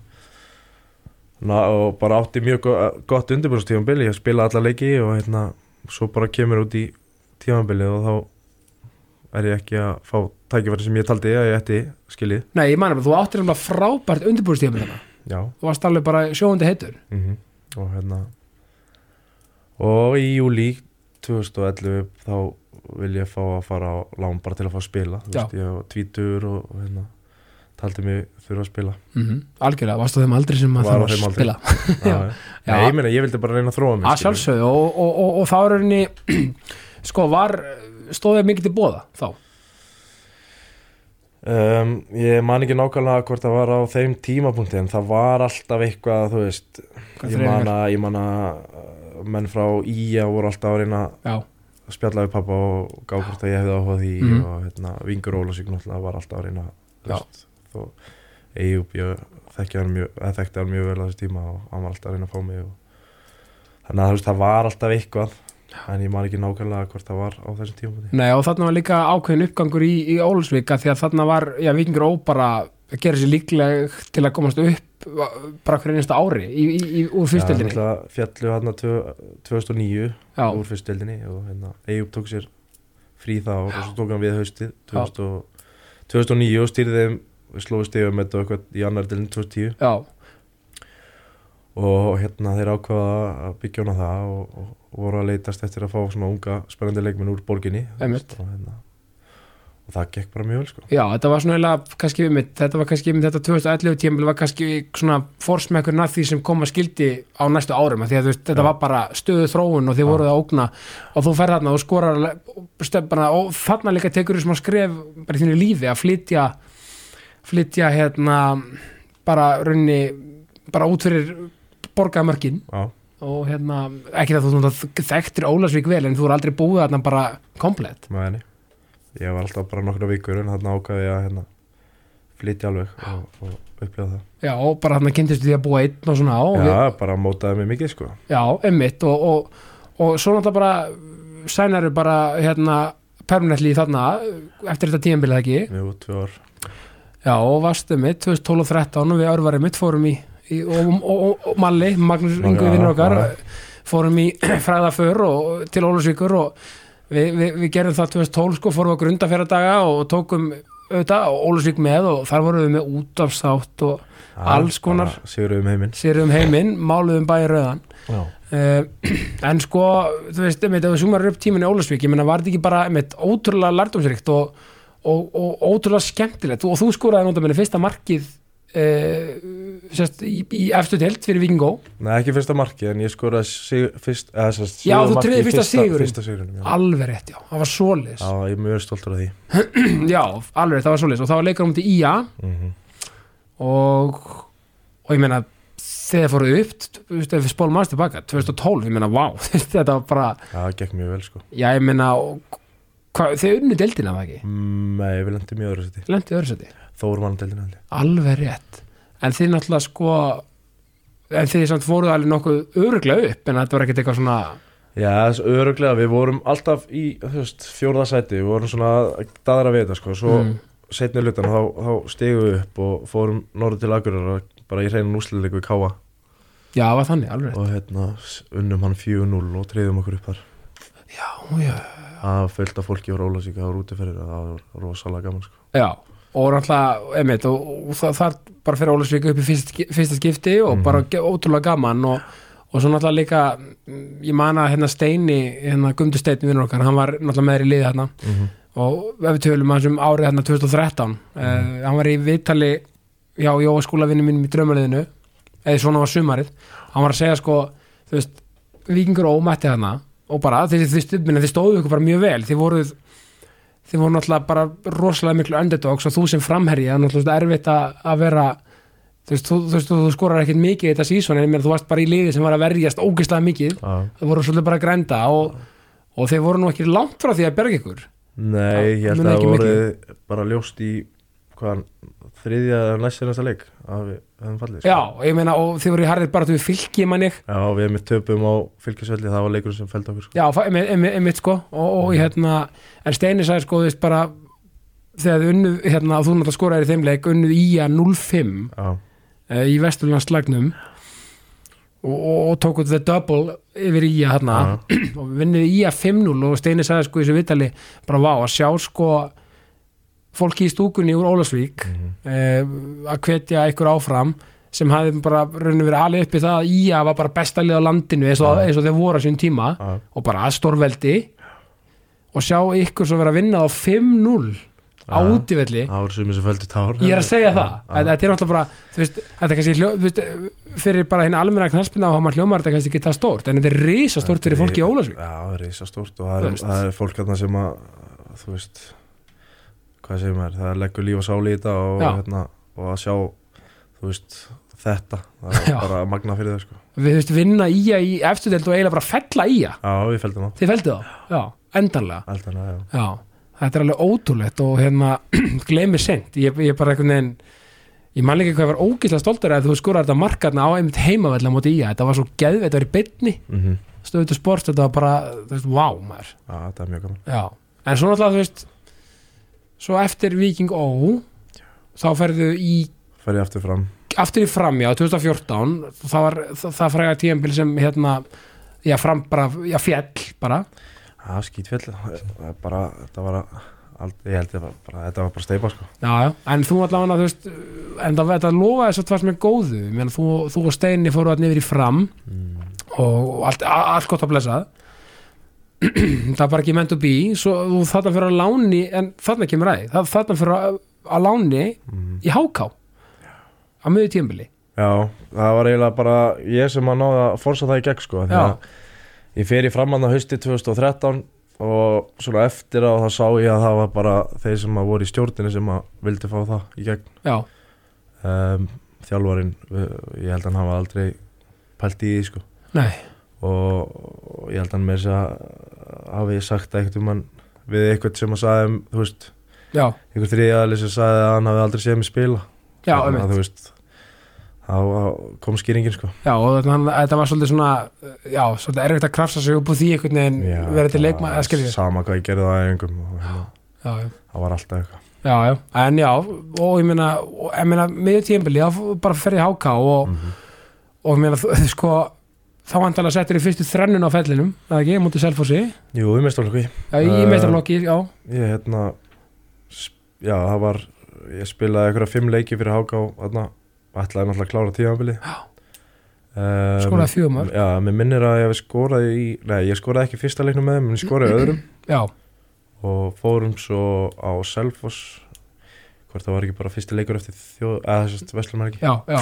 Speaker 2: na, og bara átti mjög go gott undirbúrstífambili, ég spilaði alla leiki og hérna, svo bara kemur út í tífambilið og þá er ég ekki að fá tækifæri sem ég taldi að ég ætti skilið,
Speaker 1: nei, ég manna, þú áttir nefnilega frábært undirbúrstíðum þarna
Speaker 2: já
Speaker 1: þú varst alveg bara sjóundi heitur
Speaker 2: -hmm. og hérna og í júli 2011 þá vil ég fá að fara á lán bara til að fá að spila Þú
Speaker 1: Já.
Speaker 2: veist, ég var tvítur og, og hérna, taldi mig þurfa að
Speaker 1: <laughs>
Speaker 2: spila
Speaker 1: mm algjörlega, varst á þeim aldrei sem maður
Speaker 2: Mhm. Var á
Speaker 1: þarf
Speaker 2: þeim
Speaker 1: að
Speaker 2: aldri.
Speaker 1: spila
Speaker 2: Já, já.
Speaker 1: Já.
Speaker 2: Nei, ég meina, ég vildi bara reyna að þróa mig
Speaker 1: að
Speaker 2: skilur.
Speaker 1: sjálfsögðu og, og, og, og þá er henni <clears throat> sko var, stóðið mikið til bóða þá
Speaker 2: um, Ég man ekki nákvæmlega hvort það var á þeim tímapunkti en það var alltaf eitthvað, þú veist
Speaker 1: Hvað
Speaker 2: ég
Speaker 1: þreifingar?
Speaker 2: man, að, ég man að uh, menn frá Ía voru alltaf að reyna
Speaker 1: já,
Speaker 2: að spjalla við pappa og gá hvort að ég hefði áhuga á því
Speaker 1: Mhm.
Speaker 2: og hérna, Vingur Ólásík náttúrulega var alltaf að reyna þú
Speaker 1: Já.
Speaker 2: veist, þó Eyjúb, ég þekkti hann mjög, eða þekkti hann mjög vel á þessu tíma og hann var alltaf að reyna að fá mig og... þannig að þú veist, það var alltaf eitthvað en ég man ekki nákvæmlega hvort það var á þessum tímapunkti
Speaker 1: nei og þarna var líka ákveðin uppgangur í, í Ólfsvika því að þarna var, já, vikingur ó bara að gera sér líkleg til að komast upp bara hverju einasta ári í, í, í, úr fyrstöldinni já,
Speaker 2: náttúrulega fjallu hann 2009
Speaker 1: já,
Speaker 2: úr fyrstildinni og hérna Eyjúb tók sér frí þá og svo tók hann við haustið 2000 og, 2009 og stýrði þeim við slóðu stegum með þetta og eitthvað í annar delin 2010
Speaker 1: já,
Speaker 2: og hérna þeir ákvaða að byggja hana það og, og, og voru að leitast eftir að fá svona unga spennandi leikminn úr borginni þú
Speaker 1: Einmitt.
Speaker 2: veist, og, hérna, og það gekk bara mjög vel sko.
Speaker 1: já, þetta var svona eiginlega, kannski við mitt, þetta var kannski einmitt þetta 2011 tímul var kannski svona forsmekkurinn að því sem kom að skildi á næstu árum af því að þú veist, þetta
Speaker 2: Já.
Speaker 1: var bara stöðu þróun og þið
Speaker 2: Já.
Speaker 1: voruð að ógna og þú ferð þarna og skorar stöfbana og þarna líka tekur þú smá skref bara í þínu lífi að flytja flytja hérna bara raunni bara út fyrir borgaðamörkin
Speaker 2: Já,
Speaker 1: og hérna, ekki það þú þú þekktir Ólasvík vel en þú er aldrei búið þarna bara komplett
Speaker 2: með henni ég var alltaf bara nokkra vikur en þarna ákvaði ég að hérna, flytja alveg og, og upplifa það
Speaker 1: já, og bara þarna kynntist því að búa einn og svona og
Speaker 2: Já,
Speaker 1: við-
Speaker 2: bara mótaði mig mikið sko
Speaker 1: Já, emmitt og, og, og svo náttúrulega bara sænaru bara hérna permanently þarna eftir þetta tíðanbilið ekki
Speaker 2: mjög tvö ár
Speaker 1: Já, og varst emmitt 2012 og 13 og við örvar emmitt fórum í, í og, og, og, og Malli, Magnús
Speaker 2: Malli,
Speaker 1: Ingu
Speaker 2: já,
Speaker 1: vinnur okkar
Speaker 2: já.
Speaker 1: fórum í <clears throat> fræðaför og til Ólusvíkur og við, við, við gerum það 2012 sko, fórum að grunda fyrir daga og tókum auðvitað og Ólusvík með og þar vorum við með útafsátt og Alls konar.
Speaker 2: Sigurum heiminn
Speaker 1: sérum heiminn, máluðum bæði rauðan
Speaker 2: Já,
Speaker 1: Uh, <clears throat> en sko, þú veist, einmitt, ef þú sumar upp tíminn í Ólasvík, ég meina, var þetta ekki bara einmitt, ótrúlega lærdomsrikt og, og, og ótrúlega skemmtilegt og þú skoraði nota minni fyrsta markið uh, sérst, í, í eftir telt fyrir Víkingó,
Speaker 2: Nei, ekki fyrsta marki en ég skoraði sig, fyrst, eða, sérst,
Speaker 1: Já, þú
Speaker 2: sigurmarkið
Speaker 1: tryggðir
Speaker 2: í
Speaker 1: fyrsta sigurinn.
Speaker 2: Fyrsta sigurinn, já.
Speaker 1: alveg rétt, já, það var svoleiðis,
Speaker 2: já, ég er mjög stoltur af því
Speaker 1: <clears throat> já, alveg rétt, það var svoleiðis og það var leikur um til IA
Speaker 2: mm -hmm.
Speaker 1: og, og ég meina, þegar fóruð upp, þú veist, ef við spólum aðeins tilbaka, 2012, ég meina, vá, <laughs> þetta var bara,
Speaker 2: Já, það gekk mjög vel sko
Speaker 1: já, ég meina, og hvað- þið unnu deildina, var það ekki?
Speaker 2: Mm, Nei, við lendum í öðru seti
Speaker 1: Lendi öðru seti?
Speaker 2: Þór vann deildin allir
Speaker 1: Alveg rétt En þið náttúrulega sko En þið samt voruð alveg nokkuð öruglega upp En þetta var ekkert eitthvað svona
Speaker 2: Já, þess öruglega, við vorum alltaf í þú veist, fjórða sæti, við vorum svona að daðra við þetta sko, svo
Speaker 1: Mm.
Speaker 2: setni hlutan þá, þá stegum við upp og fórum norður til Akureyrar bara í hreinu núsliðleik við Káa
Speaker 1: Já, það var þannig, alveg rétt
Speaker 2: og hérna s- unnum hann 4-0 og treyðum okkur upp þar
Speaker 1: Já, já,
Speaker 2: að fölta fólki úr Ólasík það voru útiferðir og það var rosalega gaman sko.
Speaker 1: já Og náttúrulega, einmitt Og, og það, það bara fyrir Ólasvík upp í fyrst, fyrsta skipti Og
Speaker 2: Mhm.
Speaker 1: bara ge- ótrúlega gaman Og, og svo náttúrulega líka mm, Ég man að hérna Steini, hérna Gumdu Steini vinnur okkar Hann var náttúrulega með þér í liði hérna
Speaker 2: mm -hmm.
Speaker 1: og ef við tölum aðeins um árið hérna 2013 uh, hann var í viðtali hjá Jóa skólavinni mínum í draumaliðinu eða svona var sumarið hann var að segja sko, þú veist vikingur ómætti hana og bara þið, þið, þið, minna, þið stóðu ykkur bara mjög vel þið voruð þið voru náttúrulega bara rosalega miklu underdogs og þú sem framherji það er náttúrulega erfitt að, að vera þú veist, þú, þú, veist, þú skorar ekkert mikið í þetta sísón en ég meina, þú varst bara í liði sem var að verjast ógeðslega mikið það voru svolítið bara að grænda og, og þeir voru nú ekki langt frá því að berga ykkur
Speaker 2: Nei,
Speaker 1: Já,
Speaker 2: ég held
Speaker 1: mun
Speaker 2: að
Speaker 1: ekki
Speaker 2: það voru bara ljóst í hvaðan, þriðja eða næst næsta leik að við hefum fallið sko.
Speaker 1: Já, ég meina, og þið voru í harrið bara við fylki, mann ég
Speaker 2: Já, við hefum töpum á fylgisvelli það var leikur sem fælt okkur sko.
Speaker 1: Já, fa- einmi- einmi- einmitt sko og, og hérna, en Steini sagði sko þú veist bara, þegar þið unnu hérna, og þú náttúrulega skoraðir í þeim leik, unnu í að 05
Speaker 2: Já,
Speaker 1: eh, í Vesturlandslagnum og, og, og tókuð the double yfir í að hérna og vinnið í að 5-0 og Steini sagði sko í þessu vitali, bara vá, að sjá sko fólki í stúkunni úr Ólasvík
Speaker 2: Mhm.
Speaker 1: eh, að hvetja ykkur áfram sem hafði bara rauninu verið alveg upp í það að Ía var bara besta lið á landinu eins og,
Speaker 2: Já.
Speaker 1: eins og þeir voru á sín tíma
Speaker 2: já,
Speaker 1: og bara aðstórveldi og sjá ykkur svo vera að vinna á 5-0 á
Speaker 2: Aha.
Speaker 1: útivelli
Speaker 2: Það voru sumir sem fældu tár
Speaker 1: ég er að segja það
Speaker 2: Já,
Speaker 1: að, að þetta er náttúrulega bara þú veist, þetta er kannski hljó, þú veist, fyrir bara hinn almenna knaspina og hann hljómar þetta kannski ekki það stórt en þetta er risa stórt fyrir fólki í Ólasvík
Speaker 2: Já, það er risastórt og það
Speaker 1: Þú
Speaker 2: er,
Speaker 1: veist.
Speaker 2: það er fólk hérna sem að þú veist hvað segir maður, það leggur líf og sáli í þetta og,
Speaker 1: Já.
Speaker 2: hérna, og að sjá þú veist, þetta það er
Speaker 1: Já.
Speaker 2: bara magna fyrir þau sko
Speaker 1: við þú veist, vinna í að í eftirdeld og eiginlega bara fella í að
Speaker 2: Já, við fældum á,
Speaker 1: þið feldu þá, já, endanlega
Speaker 2: allt hana, já
Speaker 1: já, þetta er alveg ótrúlegt og hérna, <clears throat> gleymi sent ég, ég bara einhvern veginn ég man ekki hvað ég var ógislega stoltur að þú skorar þetta markarna á einmitt heimavell á móti í að þetta var svo geðveit, þetta var í bytni
Speaker 2: mm -hmm.
Speaker 1: stöðutu sport, þetta var bara, þú veist, vá maður
Speaker 2: Já, þetta er mjög gaman
Speaker 1: Já, en svo náttúrulega þú veist svo eftir Viking Ó þá ferðu í
Speaker 2: Fer ég aftur fram
Speaker 1: aftur í framjá 2014 það var það, það fræga tíðanbíl sem hérna já, fram bara, já, fjall bara
Speaker 2: Já, skítfjöld Það er bara, þetta var að ald- Ég held ég bara, bara, þetta var bara steipa sko
Speaker 1: já, já, en þú allavega þú veist, en það, þetta lofaði svo tvars með góðu Ég meina, þú, þú og Steini fóru allir yfir í fram
Speaker 2: mm.
Speaker 1: og allt, a- allt gott að blessað <clears throat> það er bara ekki meant to be svo þú þarna fyrir að láni en þarna kemur aðeins, þarna fyrir að, að láni
Speaker 2: Mm.
Speaker 1: í háká á miður tíðanbíli
Speaker 2: Já, það var eiginlega bara ég sem að náða að forsa það í gegn sko því
Speaker 1: Já.
Speaker 2: að ég fer í framann á hausti 2013 og svona eftir á þá sá ég að það var bara þeir sem að voru í stjórninni sem að vildi fá það í gegn
Speaker 1: Já,
Speaker 2: um, þjálfarin, uh, ég held að hann hafa aldrei pælt í því sko
Speaker 1: nei,
Speaker 2: og, og ég held að hann með þess að hafi sagt eitthvað um hann við eitthvað sem að sagði um, þú veist,
Speaker 1: já,
Speaker 2: einhver þriðaðli sem sagði að hann hafi aldrei séð mig spila
Speaker 1: já,
Speaker 2: Þannig
Speaker 1: einmitt.
Speaker 2: að, þú veist, þá þá kom skýringin sko
Speaker 1: já og þetta, hann, þetta var svolítið svona já, svolítið erfitt að krafsa sig upp úr því einhvern veginn
Speaker 2: Já,
Speaker 1: verið til
Speaker 2: það
Speaker 1: leikma,
Speaker 2: var
Speaker 1: eða skiljið já,
Speaker 2: Sama hvað ég gerði á æfingum og hérna,
Speaker 1: já,
Speaker 2: Það var alltaf eitthvað
Speaker 1: já, já, en já og ég meina, og, ég meina miður tíðanbili, þá bara fer ég háká og,
Speaker 2: Mhm.
Speaker 1: og ég meina, <laughs> þú- sko þá vantalega settir í fyrstu þrennun á fellinum eða ekki, mútið selfósi,
Speaker 2: Jú, við mestum alveg
Speaker 1: já, í uh,
Speaker 2: Eh,
Speaker 1: meistarlokki já,
Speaker 2: Ég hérna sp- Já, það var Ég spilaði einhverja fimm leiki fyrir Háká Þarna Ætlaði náttúrulega að klára tíðanbili um,
Speaker 1: skoraði fjögumar
Speaker 2: Já, mér minnir að ég hafi skoraði í Nei, ég skoraði ekki fyrsta leiknum með þeim En ég skoraði í
Speaker 1: <clears throat>
Speaker 2: öðrum
Speaker 1: já,
Speaker 2: Og fórum svo á Selfoss Hvort það var ekki bara fyrsti leikur eftir þjóð Eða þessast Vestlumar
Speaker 1: já, já,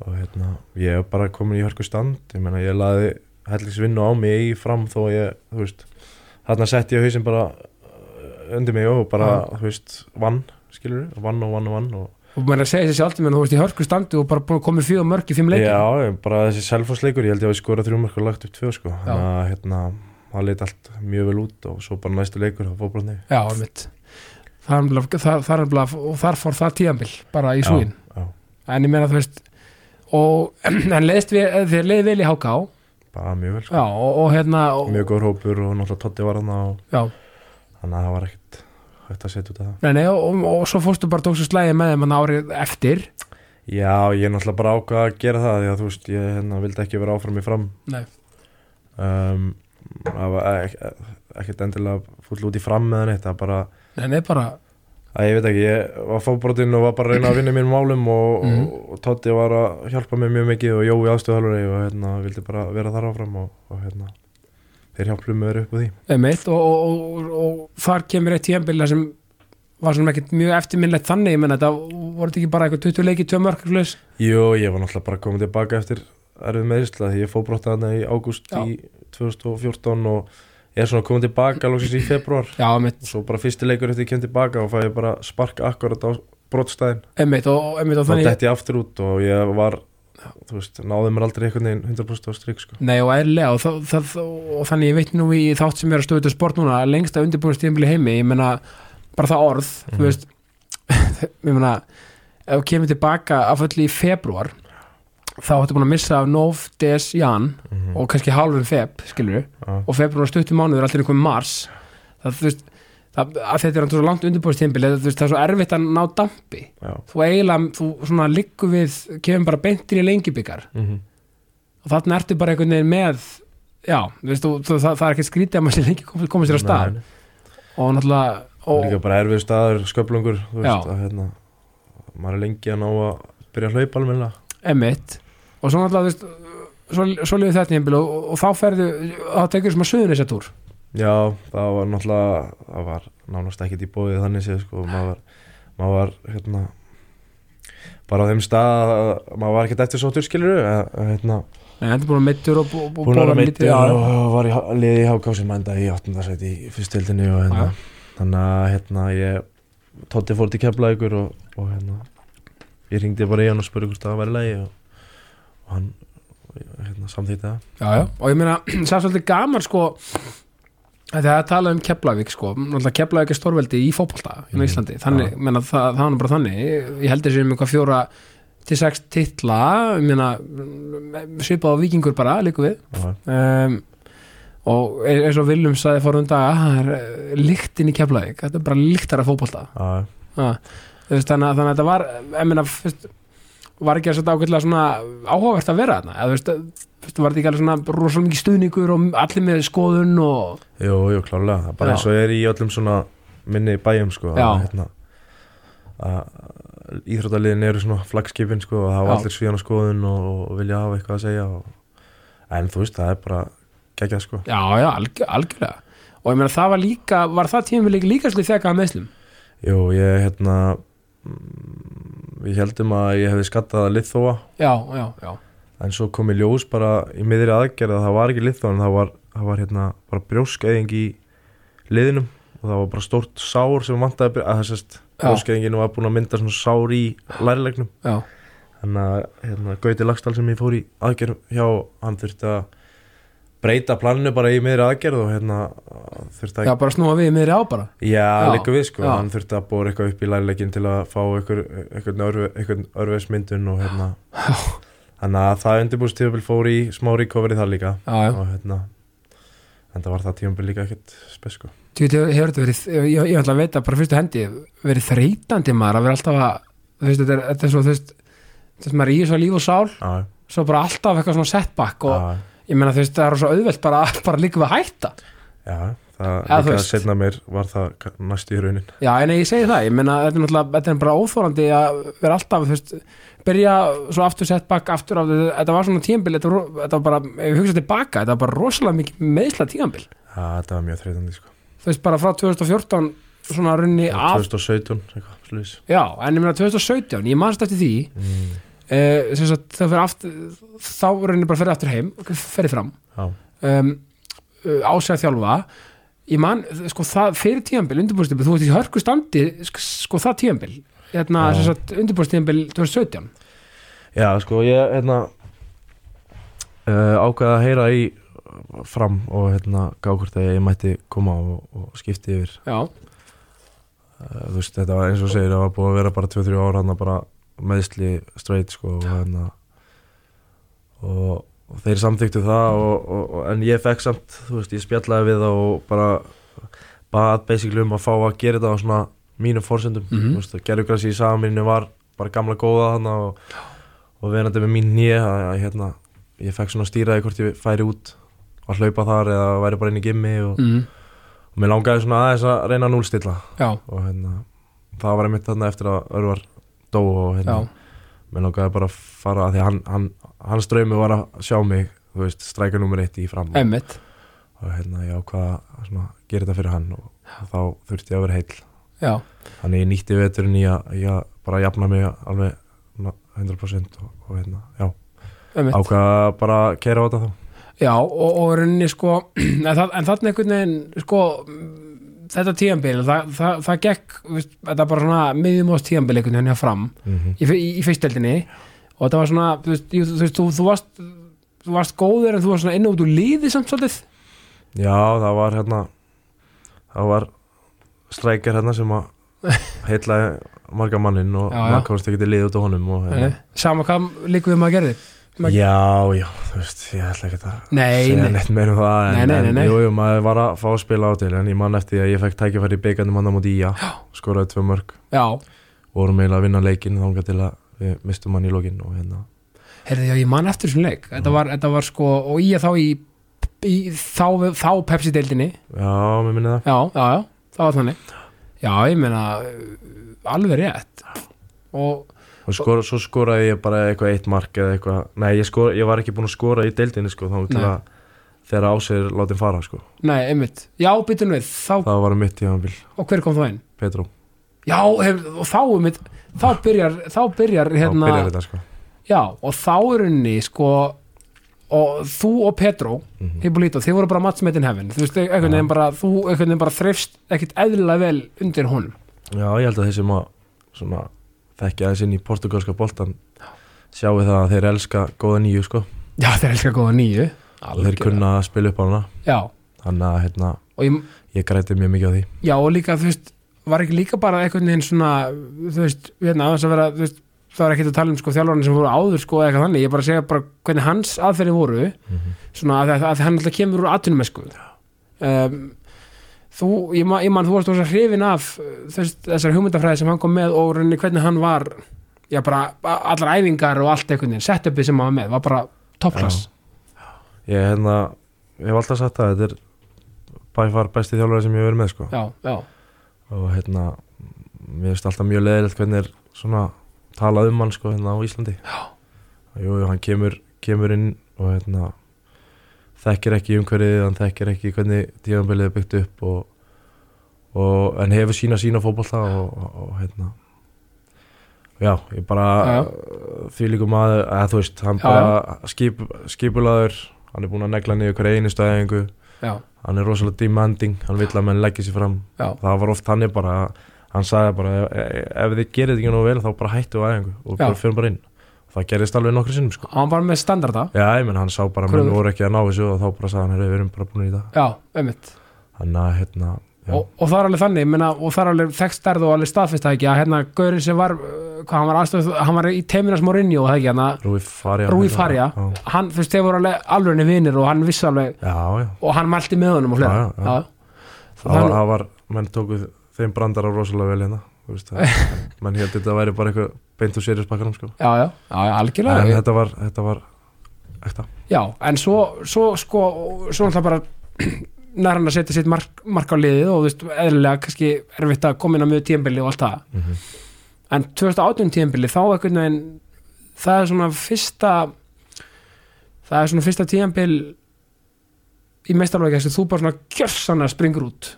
Speaker 2: og hérna, ég hef bara komin í hörku stand ég meina, ég laði hellingsvinnu á mig í fram þó að ég, þú veist þarna sett ég hausinn bara uh, undir mig og bara, þú veist, vann skilur við, vann og vann og vann og
Speaker 1: og maður er að segja þessi sjálf menn þú veist í hörku standi og bara búin að koma fjögumörk í
Speaker 2: Um
Speaker 1: fimm leikin
Speaker 2: já, ég- bara þessi selfhásleikur, ég held ég að skora þrjú mörg og lagt upp tvö, sko þannig að, hérna, það leit allt mjög vel út og svo bara næstu leikur, það fór bara nefn
Speaker 1: Já, einmitt Það er nefnilega- það- það er nefnilega, og þar fór það tíðanbill bara í súin,
Speaker 2: já,
Speaker 1: en ég meina þú veist og <clears throat> en leðist við, þið leðið vel í HK
Speaker 2: bara mjög vel, sko
Speaker 1: já, og, og hérna og,
Speaker 2: mjög góður hópur og náttúrulega Totti var hann og
Speaker 1: já,
Speaker 2: þannig að það var ekkert hægt að setja út af það
Speaker 1: nei, nei, og, og, og svo fórstu bara tókstu slæði með þeim hann árið eftir
Speaker 2: Já, ég er náttúrulega bara ákvað að gera það því að þú veist, ég hérna, vildi ekki vera áfram í fram
Speaker 1: Nei.
Speaker 2: um, Það var ek- ekkert endilega fúll út í fram með neitt það bara,
Speaker 1: nei, nei, bara,
Speaker 2: að ég veit ekki, ég var fóbrotinn og var bara að reyna að vinna mínum málum og,
Speaker 1: Mhm.
Speaker 2: og, og Totti var að hjálpa mér mjög mikið og Jói aðstöðalari og hérna, vildi bara vera þar áfram og, og hérna, þeir hjálplu mér upp úr því
Speaker 1: einmitt og, og, og, og, og þar kemur eitt tíðanbill sem var svona ekkert mjög eftirminnlegt þannig, ég menna þetta voru þetta ekki bara eitthvað 20 leiki, 2 mörkulegs
Speaker 2: Jú, ég var náttúrulega bara komin tilbaka eftir erfið meðisla því ég fóbrotta þarna í ágúst
Speaker 1: Já.
Speaker 2: í 2014 og ég er svona komin tilbaka lóksins í februar
Speaker 1: já, einmitt,
Speaker 2: og svo bara fyrsti leikur eftir ég kem tilbaka og fæ ég bara spark akkurat á brotstæðin
Speaker 1: einmitt og, og, einmitt, og
Speaker 2: þá
Speaker 1: þannig
Speaker 2: dætti ég aftur út og ég var þú veist, náði mér aldrei einhvern veginn 100% á strik sko.
Speaker 1: Nei og ærlega og, það, það, og þannig ég veit nú í þátt sem er að stöðu til sport núna að lengsta undirbúinnstíðanbili heimi ég meina bara það orð þú
Speaker 2: Mhm.
Speaker 1: veist <laughs> ég meina ef þú kemur tilbaka af öllu í februar þá ættu búin að missa af nóf, des, jan
Speaker 2: mm -hmm.
Speaker 1: og kannski hálfum feb skilur og februar er stuttum mánuður allir einhver mars það þú veist það, að þetta er hann svo langt undirbúinnstíðanbili það, þú veist, það er svo erfitt að ná dampi
Speaker 2: já,
Speaker 1: þú eiginlega, þú svona liggur við kemur bara beintir í lengibikar
Speaker 2: mm -hmm.
Speaker 1: og þarna ertu bara einhvern veginn með já, veist, þú, þú, það, það er ekki skrítið að maður sé lengi komið, komið sér á stað og náttúrulega
Speaker 2: líka
Speaker 1: og,
Speaker 2: bara erfið staður, sköplungur þú veist,
Speaker 1: Já.
Speaker 2: að, hérna, maður er lengi að ná að byrja að hlaupa almenna
Speaker 1: emitt og svo náttúrulega þú veist, svo, svo lifið þetta nýjumbil og, og, og þá ferðu, þá tekur sem að suðun þessa túr
Speaker 2: Já, það var náttúrulega það var nánast ekkert í bóðið þannig séð sko, maður var, maður var hérna, bara á þeim stað að maður var ekkert eftir sóttur skilur hérna,
Speaker 1: en þetta er búin að meittur og bú- bú-
Speaker 2: búin að
Speaker 1: borða
Speaker 2: vera
Speaker 1: lítið,
Speaker 2: meittur
Speaker 1: já.
Speaker 2: og og var í há- liði í hákásum enda í 18. sæti í fyrstildinni og hérna,
Speaker 1: Já.
Speaker 2: þannig að hérna ég, Totti fór til Keflavíkur og, og hérna ég ringdi bara í hann og spurði hvort það var í lagi og, og hann hérna, samþýtti það
Speaker 1: já, já, og ég meina, <clears throat> það er svolítið gaman sko þegar það talaði um Keflavík sko, náttúrulega Keflavík er stórveldi í fótbolta mm.
Speaker 2: Mhm.
Speaker 1: Íslandi, þannig,
Speaker 2: Já.
Speaker 1: meina, það, það var nú bara þannig ég held þessi um eitthvað fjóra til sex titla, ég meina svipað á vikingur bara, líku við
Speaker 2: Já.
Speaker 1: um, og e- eins og Viljum sagði fórum daga, það er eh, lyktin í Keflavík, þetta er bara lyktar af fótbolta
Speaker 2: Já,
Speaker 1: Ha, þú veist, þannig, að, þannig að þetta var ég meina, fyrst, var ekki að þetta ágætlega svona áhugavert að vera þarna eða þú veist, fyrst, var þetta ekki alveg svona rosalega mikið stuðningur og allir með skoðun og
Speaker 2: Jú, jú, klálega, það er bara
Speaker 1: Já.
Speaker 2: eins og er í öllum svona minni bæjum sko
Speaker 1: Já.
Speaker 2: að, hérna, að íþróttaliðin eru svona flagskipin sko og hafa
Speaker 1: Já.
Speaker 2: allir svíðan á skoðun og, og vilja hafa eitthvað að segja og, en þú veist, það er bara geggjað sko
Speaker 1: já, já, algjör, algjörlega og ég meina það var líka, var það tímum líka líka slið þegar að meðslum
Speaker 2: Jú, ég hérna mm, við heldum að ég hefði skattað að litþóa
Speaker 1: já, já, já,
Speaker 2: en svo kom í ljós bara í miðri aðgerð að það var ekki litþóa en það var, það var hérna bara brjóskæðing í liðinum og það var bara stórt sár sem vantaði að byrja að þessast
Speaker 1: Já.
Speaker 2: brjóskæðingin var búin að mynda svona sár í lærilegnum
Speaker 1: já,
Speaker 2: þannig að hérna, Gauti Lagstall sem ég fór í aðgerð hjá hann þurfti að breyta planinu bara í miðri aðgerð og hérna þurfti að
Speaker 1: já bara snúa við meðri á bara
Speaker 2: já,
Speaker 1: Já,
Speaker 2: líka við sko,
Speaker 1: já.
Speaker 2: hann þurfti að bóra eitthvað upp í lærilegin til að fá eitthvað örfesmyndun og hérna þannig að það undirbúst tíðabil fór í smá recovery þar líka
Speaker 1: já, já,
Speaker 2: og hérna en það var það tíðabil líka ekkert spes sko
Speaker 1: Þú veit, hefur þetta verið ég, ég, ég ætla að veita bara fyrstu hendi verið þreytandi maður að vera alltaf að þú veist, þetta er, þetta er svo, þú veist, þú veist maður er í þessu af líf og sál
Speaker 2: já,
Speaker 1: svo bara alltaf eitthvað svona setback og
Speaker 2: já,
Speaker 1: ég meina þú veist það er svo auðvelt bara, bara líka við að hætta
Speaker 2: já það
Speaker 1: Já, þú
Speaker 2: líka
Speaker 1: veist.
Speaker 2: setna mér var það ka- næst í raunin
Speaker 1: já en ég segi það, ég meina þetta er náttúrulega þetta er bara óþórandi að vera alltaf þú veist, byrja svo aftur setback aftur á þetta var svona tíambil þetta, var- þetta var bara, ef ég hugsa tilbaka þetta var bara rosalega mikið meðsla tíambil
Speaker 2: já, það var mjög þreytandi sko
Speaker 1: þú veist bara frá 2014 svona runni af,
Speaker 2: 2017, eitthvað, slúðis
Speaker 1: já en ég meina 2017, ég manst eftir því
Speaker 2: mm,
Speaker 1: eh, sem sagt það fyrir aftur þá runni bara fyrir aftur heim fyrir fram
Speaker 2: já
Speaker 1: um, ásæða þjálfa ég man, sko það fyrir tíðanbíl undirbúrstíðanbíl, þú veist í hörku standi sk- sko það tíðanbíl hérna,
Speaker 2: Já.
Speaker 1: sem sagt, undirbúrstíðanbíl 2017
Speaker 2: Já, sko, ég hérna uh, ákvaði að heyra í uh, fram og hérna gá hvort að ég mætti koma og, og skipti yfir
Speaker 1: já,
Speaker 2: uh, þú veist, þetta var eins og þú segir, það var búið að vera bara 2-3 ára hann bara meðsli straight sko og hérna og, og þeir samþyktu
Speaker 1: Mm.
Speaker 2: það og, og, og, en ég fekk samt, þú veist, ég spjallaði við það og bara bað basically um að fá að gera þetta á svona mínum forsendum,
Speaker 1: Mhm.
Speaker 2: þú veist, að gerðugrassi í saminni var bara gamla góða þannig og, og verandi með mín nýja að, að hérna, ég fekk svona stýraði hvort ég færi út að hlaupa þar eða væri bara inn í gimmi og,
Speaker 1: mm,
Speaker 2: og mér langaði svona aðeins að reyna að núlstilla
Speaker 1: já,
Speaker 2: og hérna það var einmitt þarna eftir að Örvar dó
Speaker 1: já,
Speaker 2: og hérna, mér langaði bara að fara að því að hann, hann, hans draumi var að sjá mig, þú veist, stræka nummer eitt í fram og,
Speaker 1: emmitt
Speaker 2: og hérna ég ákvað að svona, gera þetta fyrir hann og þá þurfti ég að vera heill
Speaker 1: já,
Speaker 2: þannig ég nýtti veturinn í að, í að bara jafna mig alveg na- 100% og, og hérna, já,
Speaker 1: emmitt
Speaker 2: ákvað bara að kæra á þetta þá
Speaker 1: já, og, og rauninni sko <clears throat> en, það, en þarna einhvern veginn sko mm, þetta tíðanbíl, það, það, það gekk veist, þetta bara svona miðjumóðs tíðanbíl einhvern veginn hjá fram
Speaker 2: mm
Speaker 1: í, í, í fyrsteldinni og þetta var svona, þú veist, jú, þú, veist þú, þú varst þú varst góður en þú varst svona inn og út úr líði samt svolítið
Speaker 2: Já, það var hérna það var strækjar hérna sem að
Speaker 1: <laughs>
Speaker 2: heitlaði marga mannin og
Speaker 1: Já, já.
Speaker 2: maður komst ekki til lið út á honum og,
Speaker 1: Nei,
Speaker 2: hérna.
Speaker 1: Eh, sama hvað líku við maður gerði Mag-
Speaker 2: Já, já, þú veist, ég ætla ekki að
Speaker 1: nei,
Speaker 2: segja
Speaker 1: nei,
Speaker 2: neitt meir um það en,
Speaker 1: Nei, nei, nei, nei.
Speaker 2: en jú, jú, maður var að fá að spila á til en ég man eftir því að ég fekk tækifæri í byggandum hann á móti í að skoraði tvö mörg
Speaker 1: já
Speaker 2: vorum eiginlega að vinna leikinn þangað til að við mistum hann í lokinn og hérna
Speaker 1: heyrðu já, ég man eftir þessum leik þetta var, þetta var sko, og ég þá í, í þá, þá Pepsi-deildinni
Speaker 2: Já, mér minni það
Speaker 1: já, já, já, það var þannig já, ég meina uh, alveg rétt og,
Speaker 2: og skora, svo skoraði ég bara eitthvað eitt mark eða eitthvað, nei ég, skora, ég var ekki búinn að skora í deildinni sko þá til
Speaker 1: Nei.
Speaker 2: að þegar ásir látin fara sko.
Speaker 1: Nei, einmitt, já, byttu nú við þá,
Speaker 2: það var mitt tímabil,
Speaker 1: og hver kom þá inn?
Speaker 2: Petró
Speaker 1: Já, hef, og þá einmitt þá byrjar, þá byrjar
Speaker 2: hérna,
Speaker 1: hérna,
Speaker 2: byrjar þetta sko.
Speaker 1: já, og þá er henni sko og þú og Pedro, mm
Speaker 2: Mhm.
Speaker 1: þið voru bara mattsmetin hefin, þú veist, einhvern
Speaker 2: Já.
Speaker 1: veginn bara þú einhvern veginn bara þreifst ekkert eðlilega vel undir honum,
Speaker 2: Já, ég held að þeir sem að svona, þekkja aðeins inn í portugalska boltan sjáu það að þeir elska góða nýju sko.
Speaker 1: já, þeir elskar góða nýju
Speaker 2: og þeir kunna að spila upp á hana
Speaker 1: já,
Speaker 2: þannig að hérna,
Speaker 1: og ég,
Speaker 2: ég græti mjög mikið á því
Speaker 1: Já, og líka, þú veist, var ekki líka bara einhvern veginn svona, þú veist, hérna, aðeins að vera, þú veist, það var ekkert að tala um sko þjálfarnir sem voru áður sko eða eitthvað þannig, ég er bara að segja bara hvernig hans aðferði voru, svona að, að, að hann alltaf kemur úr atvinnumessku. Um, þú, ég, man, ég man, þú varst ósa hrifin af uh, þú veist, þessar hugmyndafræði sem hann kom með og rauninni hvernig hann var, já bara, a- allar æfingar og allt einhvern veginn, setupið sem hann var með, var bara toppklass.
Speaker 2: ég, hérna, ég hef alltaf sagt það þetta er by far besti þjálfari sem ég hef verið með sko.
Speaker 1: Já, já,
Speaker 2: og hérna mér finnst alltaf mjög leðilegt hvernig er svona talað um hann sko hérna á Íslandi já jú, jú, hann kemur, kemur inn og hérna þekkir ekki umhverfið, hann þekkir ekki hvernig tímanbilið er byggt upp og, og en hefur sína sína fótbolta og, og, og hérna já, ég bara
Speaker 1: Já, já.
Speaker 2: því líka maður, eða þú veist hann
Speaker 1: Já,
Speaker 2: bara skip, skipulaður hann er búinn að negla niður hverja einu stæðingu
Speaker 1: já,
Speaker 2: hann er rosalega demanding, hann vill að menn leggja sér fram
Speaker 1: já,
Speaker 2: það var oft þannig bara að hann sagði bara "Ef- ef þið gerir þetta ekki nú vel þá bara hættu að aðeins og bara
Speaker 1: Já.
Speaker 2: fyrir bara inn það gerðist alveg nokkru sinnum sko.
Speaker 1: hann var með standarda,
Speaker 2: já, ég menn hann sá bara að
Speaker 1: Kröfur.
Speaker 2: menn voru ekki að ná þessu og þá bara sagði hann, "Heyrðu, við erum bara búin í það
Speaker 1: já, einmitt.
Speaker 2: þannig að hérna já,
Speaker 1: og, og það er alveg þannig menna, og það er alveg þekstærð og alveg staðfist það ekki að hérna Gaurin sem var, uh, hvað hann var aðstöð hann var í teiminas Mourinho það ekki hann
Speaker 2: Rúi Farja
Speaker 1: Rúi Farja,
Speaker 2: já,
Speaker 1: hann, þú veist, þeir voru alveg alveg vinir og hann vissi alveg
Speaker 2: já, já.
Speaker 1: og hann mælti með honum og fleira
Speaker 2: Já, já, já. Það, var, það var, menn tóku þeim brandara rosalega vel hérna þú veist, það- <laughs> menn held þetta væri bara eitthvað beint úr sérjusbakkanum sko.
Speaker 1: já, já, já, já, algjörlega
Speaker 2: en hérna-
Speaker 1: en,
Speaker 2: þetta var, þetta var ekta
Speaker 1: já, en svo, svo sko, svo hann það bara <clears throat> nær hann að setja sitt mark, mark á liðið og þú veist, eðlilega kannski erfitt að koma inn á mjög tímbili og allt það
Speaker 2: mm -hmm.
Speaker 1: en 2018 tíðanbili þá einhvern veginn það er svona fyrsta það er svona fyrsta tíðanbil í meistarlóki sem þú bara svona kjörsanna springur út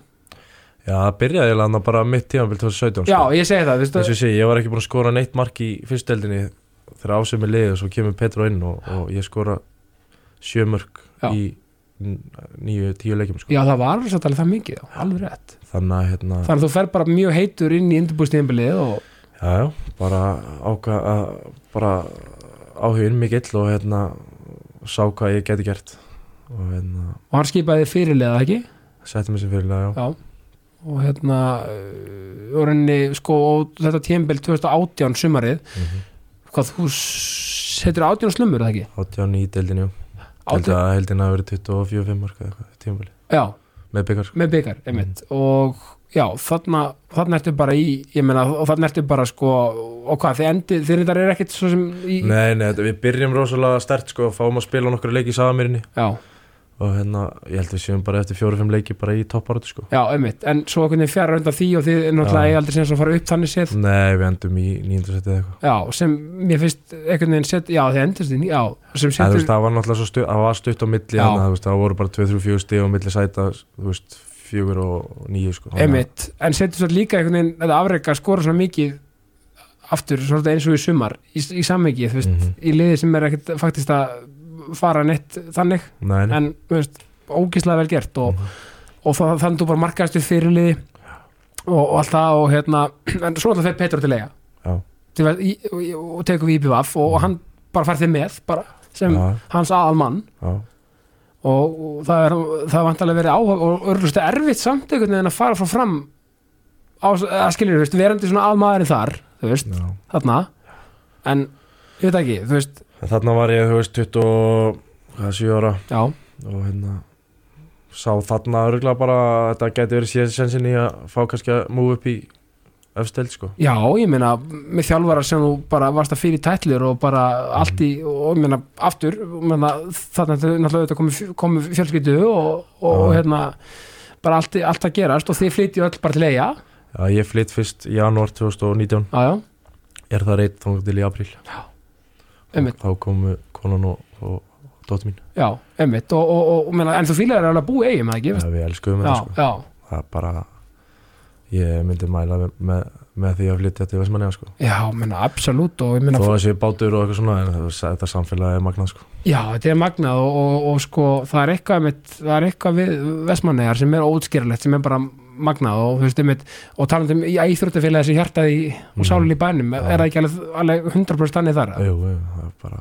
Speaker 2: já, það byrjaði eiginlega þarna bara mitt tímanbíl 2017
Speaker 1: já
Speaker 2: sko.
Speaker 1: ég segi það
Speaker 2: eins og
Speaker 1: veistu,
Speaker 2: ég segi, ég var ekki búin að skora neitt mark í fyrsteldinni þegar ásum er liðið og svo kemur Petro inn og, og ég skora sjö mörg
Speaker 1: Já.
Speaker 2: í n- nýju, tíu leikjum sko.
Speaker 1: já það var alveg satt alveg það mikið já, alveg rétt
Speaker 2: þannig að hérna,
Speaker 1: þannig að þú fer bara mjög heitur inn í undirbúðstíðanbilið og
Speaker 2: já, já, bara áka að, bara áhugin mikill og hérna sá hvað ég geti gert og hérna,
Speaker 1: og hann skipaði þig fyrirliða ekki
Speaker 2: setti mig sem fyrirlega, já,
Speaker 1: já og hérna uh, og rauninni, sko, og þetta tíðanbil 2018 sumarið
Speaker 2: Mhm.
Speaker 1: hvað þú setur 18 slumur er það ekki
Speaker 2: 89 í deildinni, já, held
Speaker 1: 18,
Speaker 2: að heldin að verið 24-5 mörg eða eitthvað, tímabili,
Speaker 1: já
Speaker 2: með byggar sko.
Speaker 1: með byggar, einmitt og já, þarna, þarna ertu bara í ég meina, og þarna ertu bara sko og hvað, þið endið, þið reyndar er ekkert svo sem í,
Speaker 2: Nei, nei, þetta- við byrjum rosalega stert sko, fáum að spila nokkru leik í Samirinni
Speaker 1: já,
Speaker 2: og hérna, ég held við séum bara eftir fjóru-fimm leiki bara í topparötu sko
Speaker 1: já, einmitt, en svo einhvern veginn fjara undan því og þið er náttúrulega
Speaker 2: Já. Mm.
Speaker 1: ég aldrei sem að fara upp þannig séð,
Speaker 2: Nei, við endum í nýjöndu setið eitthvað
Speaker 1: já, sem mér finnst einhvern veginn set, já, þið endist því, já sem
Speaker 2: En þú
Speaker 1: setur,
Speaker 2: veist, það var náttúrulega svo stutt, það var stutt á milli
Speaker 1: Já.
Speaker 2: þannig að þú veist, það voru bara 2-3-4 stíð á milli sæta, þú veist, fjögur og nýju sko Þannig að-
Speaker 1: einmitt en setur svo líka einhvern veginn, þetta afreka skora svona mikið aftur, svolítið eins og í sumar í, í samvikið, þú veist,
Speaker 2: Mhm.
Speaker 1: í liði sem er ekkert faktist að fara neitt þannig
Speaker 2: Nei, nei.
Speaker 1: en þú veist, ógislega vel gert og,
Speaker 2: Mhm.
Speaker 1: og það, þannig þú bara markaðist við fyrirliði og, og allt það og hérna, <clears throat> en svo alltaf þeir Petur til eiga
Speaker 2: Já.
Speaker 1: til, að- í, og, og tekur við IPVF og, og hann bara fær þig með bara, sem
Speaker 2: Já,
Speaker 1: hans aðal mann
Speaker 2: já,
Speaker 1: og, og það er það vantarlega verið áhuga og örlustu erfitt samt einhvern veginn að fara frá fram á, að skiljur, þú veist, verandi svona aðmaðurinn þar, þú veist,
Speaker 2: já
Speaker 1: þarna en, ég veit ekki, þú veist
Speaker 2: En Þarna var ég, þú veist, 27 ára
Speaker 1: já,
Speaker 2: og hérna sá þarna örgulega bara að þetta gæti verið síðan sensin í að fá kannski að move upp í öfsteld sko
Speaker 1: Já, ég meina, með þjálfara sem þú bara varst að fyrir tætlur og bara allt í, og ég meina, aftur ég meina, þarna þetta er náttúrulega þetta komið komi fjölskyldu og, og
Speaker 2: Já.
Speaker 1: hérna, bara allt, í- allt að gerast og þið flytju öll bara til eiga
Speaker 2: Já, ég flytt fyrst í janúar 2019
Speaker 1: Já, já,
Speaker 2: er það reitt þangum til í apríl
Speaker 1: einmitt,
Speaker 2: þá komu konan og, og dóttir mín
Speaker 1: já, emmitt og, og, og, og meina, en þú fílar er alveg að búa í eigum, eða ekki?
Speaker 2: ja, við elskuðum
Speaker 1: já,
Speaker 2: þetta sko
Speaker 1: já,
Speaker 2: það er bara ég myndi mæla með, með, með því að flytja til Vestmanniða sko
Speaker 1: já, menna, absolutt og ég
Speaker 2: þó
Speaker 1: meina,
Speaker 2: að sé bátur og eitthvað svona en það- þetta samfélag er magnað sko
Speaker 1: já, þetta er magnað og, og, og sko, það er eitthvað einmitt, það er eitthvað við vestmannegar sem er ótskýralegt, sem er bara magnað og þú veist, einmitt, og talandi um já, íþróttafélagi sem hjartaði og
Speaker 2: Mhm.
Speaker 1: sálinn í bænum,
Speaker 2: Já.
Speaker 1: er það ekki alveg, alveg 100% þannig þar?
Speaker 2: jú, jú, það er bara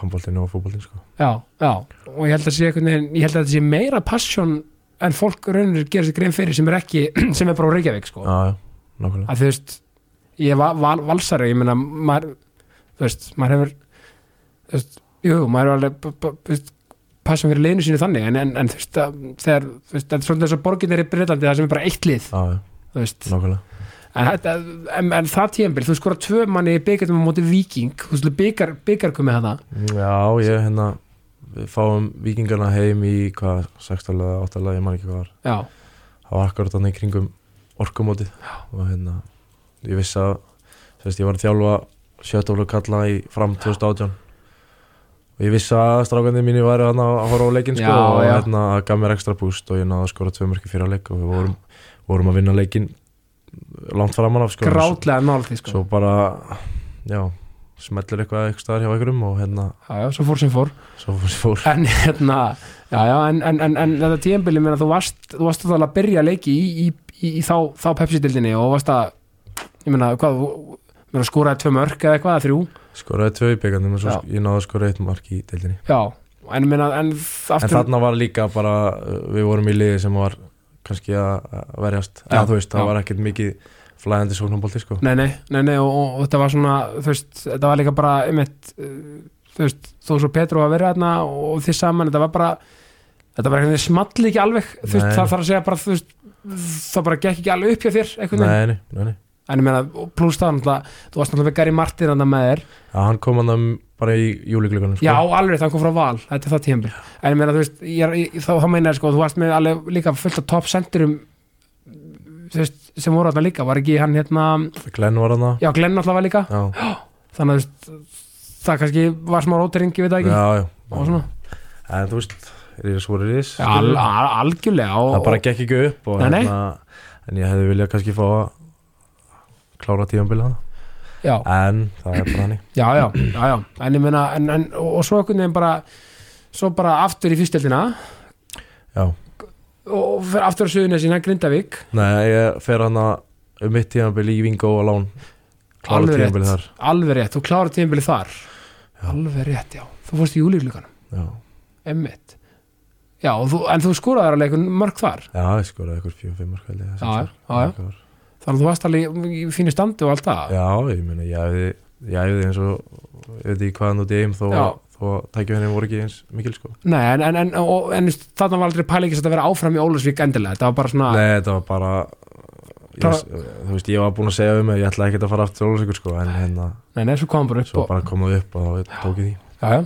Speaker 2: handbóltinn og fótbóltinn sko
Speaker 1: já, já, og ég held að sé einhvern veginn, ég held að þetta sé meira passion en fólk raunir gerir sér grein fyrir sem er ekki, <clears throat> sem er bara úr Reykjavík sko.
Speaker 2: já, já, nákvæmlega
Speaker 1: að þú veist ég var val, valsari, ég meina maður, þú veist, maður hefur þú veist, jú, maður er alveg b- b- þú veist, passion fyrir liðinu sínu þannig en, en, en þú veist, að, þegar, þú veist, þetta er svolítið þess að borgin er í Breitlandi, það sem er bara eitt lið
Speaker 2: já, já,
Speaker 1: þú veist,
Speaker 2: nákvæmlega
Speaker 1: en, þetta, en, en það tíðanbíl, þú skora tvö manni í byggjum á móti viking, þú veist, byggar, byggar komið hana,
Speaker 2: Já, ég hérna við fáum vikingarna heim í hvað, 16 eða 8 lega, ég man ekki hvað var
Speaker 1: já,
Speaker 2: það var akkurat þannig kringum orkumótið og hérna, ég vissi að þú veist, ég var að þjálfa sjötoflu kalla í fram 2018 og ég vissi að strákandi mínu var að horfa á leikinn sko,
Speaker 1: Já,
Speaker 2: og
Speaker 1: já.
Speaker 2: hérna það gaf mér ekstra búst og ég náði að skora tvö mörki fyrir að leik og við vorum, vorum að vinna leikinn langt framan af sko, en
Speaker 1: grátlega náldi
Speaker 2: svo,
Speaker 1: sko.
Speaker 2: svo bara já, smellir eitthvað eitthvað staðar hjá einhverjum og hérna,
Speaker 1: já, já, svo fór sem fór
Speaker 2: svo fór
Speaker 1: en hérna já, já, en, en, en, en þetta tíðanbili meina, þú varst, þú varst að að byrja leiki í, í, í, í þá, þá Pepsi-dildinni og varst að ég meina, hvað, þú- meina, skoraði tvö mörk eða eitthvað, eða þrjú
Speaker 2: skoraði tvö í byggandum og svo
Speaker 1: Já.
Speaker 2: sk- ég náði að skora eitt mark í deildinni
Speaker 1: já, en, meina, en
Speaker 2: en
Speaker 1: aftur
Speaker 2: þarna var líka bara uh, við vorum í liði sem var kannski að að verjast
Speaker 1: Já,
Speaker 2: eða þú veist,
Speaker 1: já.
Speaker 2: það var ekkert mikið flæðandi sóknarbolti sko
Speaker 1: nei, nei, nei, nei og, og, og þetta var svona, þú veist, þetta var líka bara einmitt, uh, þú veist, þó svo Petru að vera þarna og þið saman þetta var bara, þetta var eitthvað smalli ekki alveg, þú veist,
Speaker 2: Nei.
Speaker 1: það þarf að segja bara þú veist, það bara gekk ekki alveg upp hjá þér einhvern veginn,
Speaker 2: nei, nei, nei, nei.
Speaker 1: en ég meina, pluss það náttúrulega, þú varst náttúrulega með Gary Martin þarna með þér
Speaker 2: Að hann kom hann um bara í júliklíkanum sko.
Speaker 1: Já, alveg, það kom frá val, þetta er það tíðanbíl En ég meina, þú veist, ég, er- ég, þá, þá meina ég sko, þú varst með alveg líka fullt af top centurum þú veist, sem voru þarna líka, var ekki hann hérna
Speaker 2: Glenn var hann það
Speaker 1: Já, Glenn alltaf var líka,
Speaker 2: já,
Speaker 1: þannig að þú veist það kannski var smá róteringi, ég veit það ekki
Speaker 2: já,
Speaker 1: og svona,
Speaker 2: já. en þú veist, er ég svo reyðis
Speaker 1: Já, al, al, algjörlega og,
Speaker 2: það bara gekk ekki upp og, hérna,
Speaker 1: Nei, nei.
Speaker 2: en ég hefði viljað kannski fá að klára tíðanbila
Speaker 1: já,
Speaker 2: en það er bara hann
Speaker 1: já, já, já, já en ég meina, en, en, og, og svo einhvern veginn bara svo bara aftur í fyrstöldina
Speaker 2: já,
Speaker 1: og fer aftur á Suðunesina, Grindavík
Speaker 2: Nei, ég fer hann að um mitt tíðanbili í Vingó og Lán Klára
Speaker 1: Alveg rétt.
Speaker 2: tíðanbili þar
Speaker 1: alveg rétt, þú klárar tíðanbili þar
Speaker 2: Já.
Speaker 1: alveg rétt, já, þú fórst í júlíklíkan
Speaker 2: Já,
Speaker 1: Emmitt Já, og þú, en þú skoraðar alveg einhvern mörg þar
Speaker 2: já ég skoraði eitthvað 4-5 mörg held ég
Speaker 1: Já, já, já.
Speaker 2: já
Speaker 1: Þannig að þú varst alveg í fínu standi og allt það
Speaker 2: Já, ég meina, ég hefði ég hefði eins og, ég veit ekki hvaðan út í eim þó,
Speaker 1: Já.
Speaker 2: þó tækju henni voru ekki eins mikil sko
Speaker 1: Nei, en, en, en, og, en þarna var aldrei pælingis að vera áfram í Ólusvík endilega Þetta var bara svona
Speaker 2: Nei, þetta var bara ég,
Speaker 1: Bara-
Speaker 2: þú veist, ég var búinn að segja um mig ég ætlaði ekkert að fara aftur ólusikur sko en hérna,
Speaker 1: nei, nei, svo kom bara upp
Speaker 2: svo
Speaker 1: og,
Speaker 2: bara kom það upp og þá tók ég því
Speaker 1: já, já.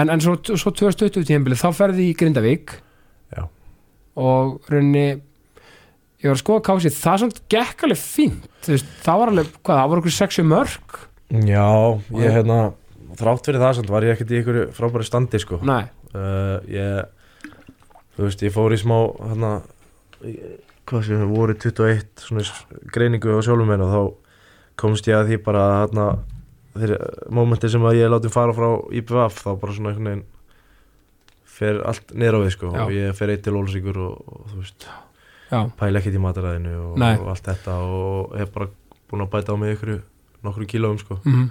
Speaker 1: En, en svo, svo 2020 tíðanbilið, þá ferði í Grindavík
Speaker 2: Já.
Speaker 1: Og rauninni Ég var að skoða kásið, það samt gekk alveg fínt Þú veist, Það var alveg, hvað, það voru okkur 60 mörg
Speaker 2: Já,
Speaker 1: Já.
Speaker 2: ég hérna þrátt fyrir það samt var ég ekkert í ykkur frábæri standi sko
Speaker 1: Nei,
Speaker 2: uh, ég, þú veist, ég fór í smá hérna, í- hvað sem voru 21 svona s- greiningu á sjálfum mér og þá komst ég að því bara að hérna, þeir mómenti sem að ég er látið fara frá IPVF þá bara svona einhvern veginn fer allt niður á við sko
Speaker 1: Já.
Speaker 2: og ég fer eitt til Ólsíkur og, og þú veist
Speaker 1: já,
Speaker 2: pæla ekkert í mataræðinu og,
Speaker 1: Nei.
Speaker 2: og allt þetta og hef bara búin að bæta á mig ykkur nokkru kílóum sko
Speaker 1: mhm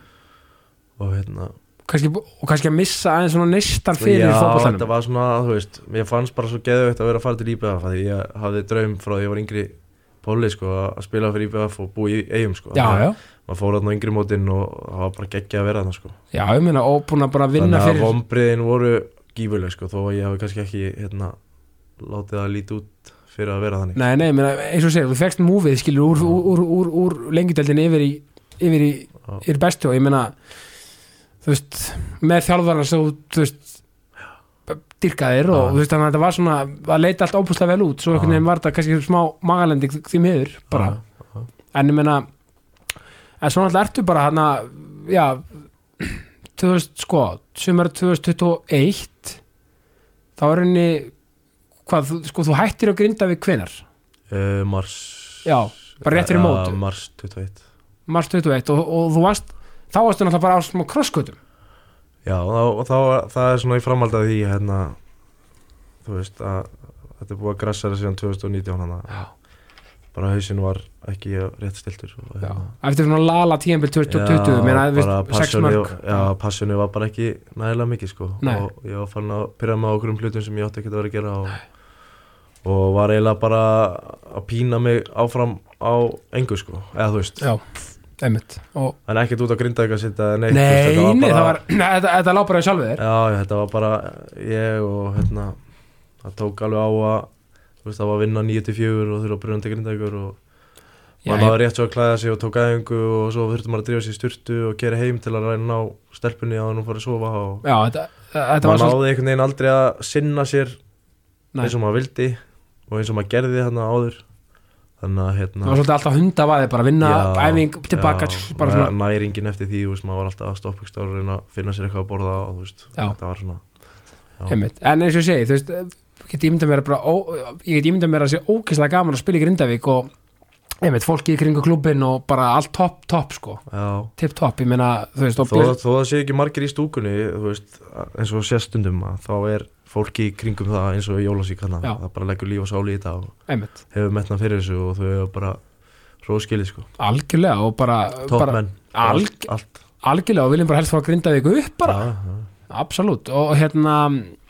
Speaker 2: og hérna
Speaker 1: kannski, og kannski að missa aðeins svona neistar fyrir
Speaker 2: Já, þetta
Speaker 1: fótboltanum
Speaker 2: var svona, þú veist, ég fannst bara svo geðveikt að vera að fara til IBF að ég hafði draum frá því ég var yngri Póli, sko, að spila fyrir IBF og búi í eigum, sko
Speaker 1: já, já,
Speaker 2: Maður fór þarna á yngri mótin og það var bara geggja að vera þarna, sko
Speaker 1: já, ég meina og búin að bara vinna
Speaker 2: Þannig að
Speaker 1: fyrir
Speaker 2: vombriðin voru gífurleg, sko, þó að ég hafi kannski ekki, hérna, látið að líti út fyrir að vera þannig
Speaker 1: nei, nei, ég meina, eins og segir, þú fegst múfið skilur úr, úr, úr, úr, úr lengjudeldin yfir í, yfir í,
Speaker 2: Já.
Speaker 1: yfir bestu og ég meina þú veist, með þjálfarna svo, þú veist dyrkaðir og
Speaker 2: Já.
Speaker 1: þú veist, þannig að þetta var svona að leita allt óbúslega vel út, svo einhvern
Speaker 2: Já.
Speaker 1: veginn var þetta kannski smá magalending því miður, bara en ég meina en svo náttúrulega ertu bara hana já, 2000, sko, sumar 2021 þá er henni hvað, þú- sko, þú hættir að grinda við hvenar
Speaker 2: uh, Mars
Speaker 1: Já, bara rétt fyrir
Speaker 2: Ja,
Speaker 1: mót.
Speaker 2: Mars 21
Speaker 1: mars 21 og, og þú varst þá varstu náttúrulega bara á smá krosskötum
Speaker 2: Já, og þá, og þá, það er svona í framhald af því hérna, þú veist að þetta er búið að grassera síðan 2019 hana. bara hausinn var ekki rétt stiltur og, hérna.
Speaker 1: Já. eftir svona lala tíðanbíl 2020 meina,
Speaker 2: bara
Speaker 1: veist, sex
Speaker 2: passionið-
Speaker 1: mörg
Speaker 2: Já, passunni var bara ekki nægilega mikið sko
Speaker 1: Nei.
Speaker 2: og ég var fann að pyrra með okkur um hlutum sem ég átti ekki að vera að gera og, og var eiginlega bara að pína mig áfram á engu sko, eða þú veist
Speaker 1: já, einmitt og,
Speaker 2: en ekkert út að grinda eitthvað sitt eða
Speaker 1: nei,
Speaker 2: neitt þú
Speaker 1: nei,
Speaker 2: veist, þetta
Speaker 1: það
Speaker 2: bara-
Speaker 1: var þetta, þetta lá bara í sjálfið þér
Speaker 2: Já, já, þetta var bara ég og hérna það tók alveg á að þú veist, það var að vinna 9-4 og þurfa að bruna til grindækur og
Speaker 1: Já,
Speaker 2: maður
Speaker 1: ég-
Speaker 2: náði rétt svo að klæða sig og tók aðingu og svo þurfti maður að drífa sig í styrtu og gera heim til að ræna á stelpunni á hann og fara að sofa og
Speaker 1: já, þetta, þetta var
Speaker 2: maður
Speaker 1: svo
Speaker 2: náði einhvern veginn aldrei að sinna sér
Speaker 1: Nei.
Speaker 2: eins og maður vildi og eins og maður gerði þarna áður þannig að
Speaker 1: það var
Speaker 2: hérna
Speaker 1: svolítið alltaf hundavaði bara vinna,
Speaker 2: Já,
Speaker 1: æfing, tilbaka
Speaker 2: já,
Speaker 1: tss, bara svona,
Speaker 2: næringin eftir því, þú veist, maður var alltaf að stoppa ykkur stára og reyna að finna sér eitthvað að borða og þú veist,
Speaker 1: Já.
Speaker 2: þetta var svona já.
Speaker 1: einmitt, en eins og ég segi þú veist, ég get ímyndað mér að bara ó, ég get ímyndað mér að sé ókislega gaman að spila í Grindavík og einmitt, fólki í kringu klubin og bara allt topp, topp sko
Speaker 2: já,
Speaker 1: tipp topp, ég meina, þú veist, og
Speaker 2: þó,
Speaker 1: blir-
Speaker 2: þó það sé ekki margir í stúkunni þú veist, eins og sérstundum að þá er fólki í kringum það eins og jólasík hann
Speaker 1: Já.
Speaker 2: það bara leggur líf og sáli í þetta og
Speaker 1: einmitt,
Speaker 2: hefur metnað fyrir þessu og þau hefur bara róskili sko,
Speaker 1: algjörlega og bara, bara
Speaker 2: toppmenn
Speaker 1: alg-
Speaker 2: allt,
Speaker 1: algjörlega og viljum bara helst fá að grinda þig upp bara,
Speaker 2: Já, já.
Speaker 1: absolutt og hérna,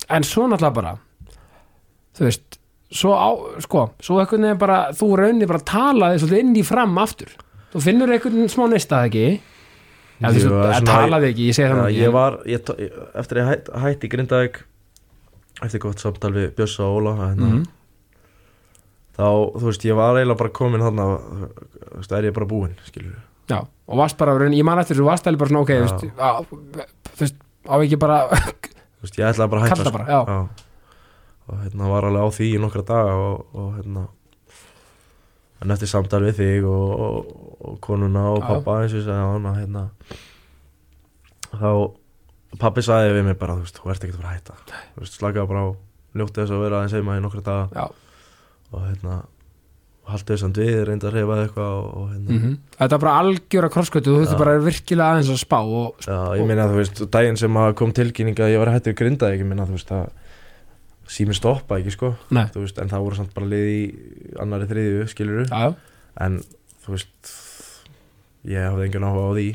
Speaker 1: en svo náttúrulega bara þú veist svo á, sko, svo einhvern veginn bara þú raunir bara að tala þig svolítið inn í fram aftur, þú finnur einhvern smá neistað ekki Já, þú veist,
Speaker 2: Jú,
Speaker 1: að
Speaker 2: svona-
Speaker 1: tala þig ekki, ég hérna- segi það
Speaker 2: Já,
Speaker 1: nú ekki.
Speaker 2: ég var, ég, tó- ég- eftir að ég hætt, hætti í Grindavík eftir gott samtal við Bjössa og Óla hérna,
Speaker 1: Mhm.
Speaker 2: þá, þú veist, ég var eiginlega bara komin þarna, þú veist, er ég bara búinn skilur við,
Speaker 1: Já, og varst bara, raun- ég man eftir þessu, varst alveg bara svona, ok, þú
Speaker 2: Já.
Speaker 1: veist, á- þú veist, á ekki bara, <laughs>
Speaker 2: þú veist, ég ætlaði bara að hætta
Speaker 1: kalla
Speaker 2: sko.
Speaker 1: bara, já,
Speaker 2: Já. og hérna var alveg á því í nokkra daga og, og hérna en eftir samtal við þig og, og, og konuna og
Speaker 1: Já.
Speaker 2: pappa eins og sagði hann að hérna þá pappi sagði við mig bara þú veist, þú ert ekkert að fara að hætta þú veist, slakaði bara á, njótti þess að vera aðeins heima í nokkra daga
Speaker 1: já,
Speaker 2: og hérna haldið þess að við reynda að reyfa eitthvað og, og hérna
Speaker 1: mhm Þetta er bara algjöra krosskötu, þú
Speaker 2: Já.
Speaker 1: þurftur bara virkilega aðeins að spá og,
Speaker 2: Já, ég meina þú veist, daginn sem að kom tilkynning að ég var hættur grinda, ég meina þú veist að sími stoppa ekki sko
Speaker 1: nei,
Speaker 2: þú veist, en það voru samt bara lið í annari þriðju, skiluru
Speaker 1: já, já,
Speaker 2: en þú veist ég hafði engan áhuga á því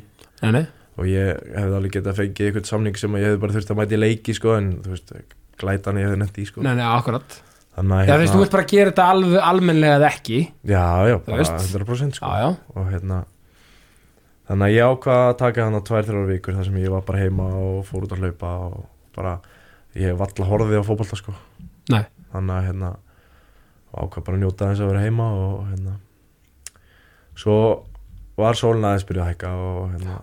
Speaker 1: nei, nei,
Speaker 2: og ég hefði alveg getað fengið eitthvað samning sem ég hefði bara þurft að mæta í leiki sko, en þú veist, glætan ég hefði nett í sko.
Speaker 1: nei, nei, akkurat.
Speaker 2: þannig að
Speaker 1: Já,
Speaker 2: hérna-
Speaker 1: þú veist, þú vilt bara gera þetta alveg almennlega eða ekki
Speaker 2: já, já,
Speaker 1: Þú
Speaker 2: bara
Speaker 1: veist.
Speaker 2: 100% sko.
Speaker 1: Já, já,
Speaker 2: og hérna þannig að ég ákvað að taka hann á tvær, þrjár vikur þar sem ég var bara heima og fór út að hlaupa og bara, ég hef alltaf horfið á fótbolta sko
Speaker 1: Nei.
Speaker 2: þannig að hérna og ákvað bara að njóta þess að vera heima og hérna svo var sólin aðeins byrjuð að hækka og hérna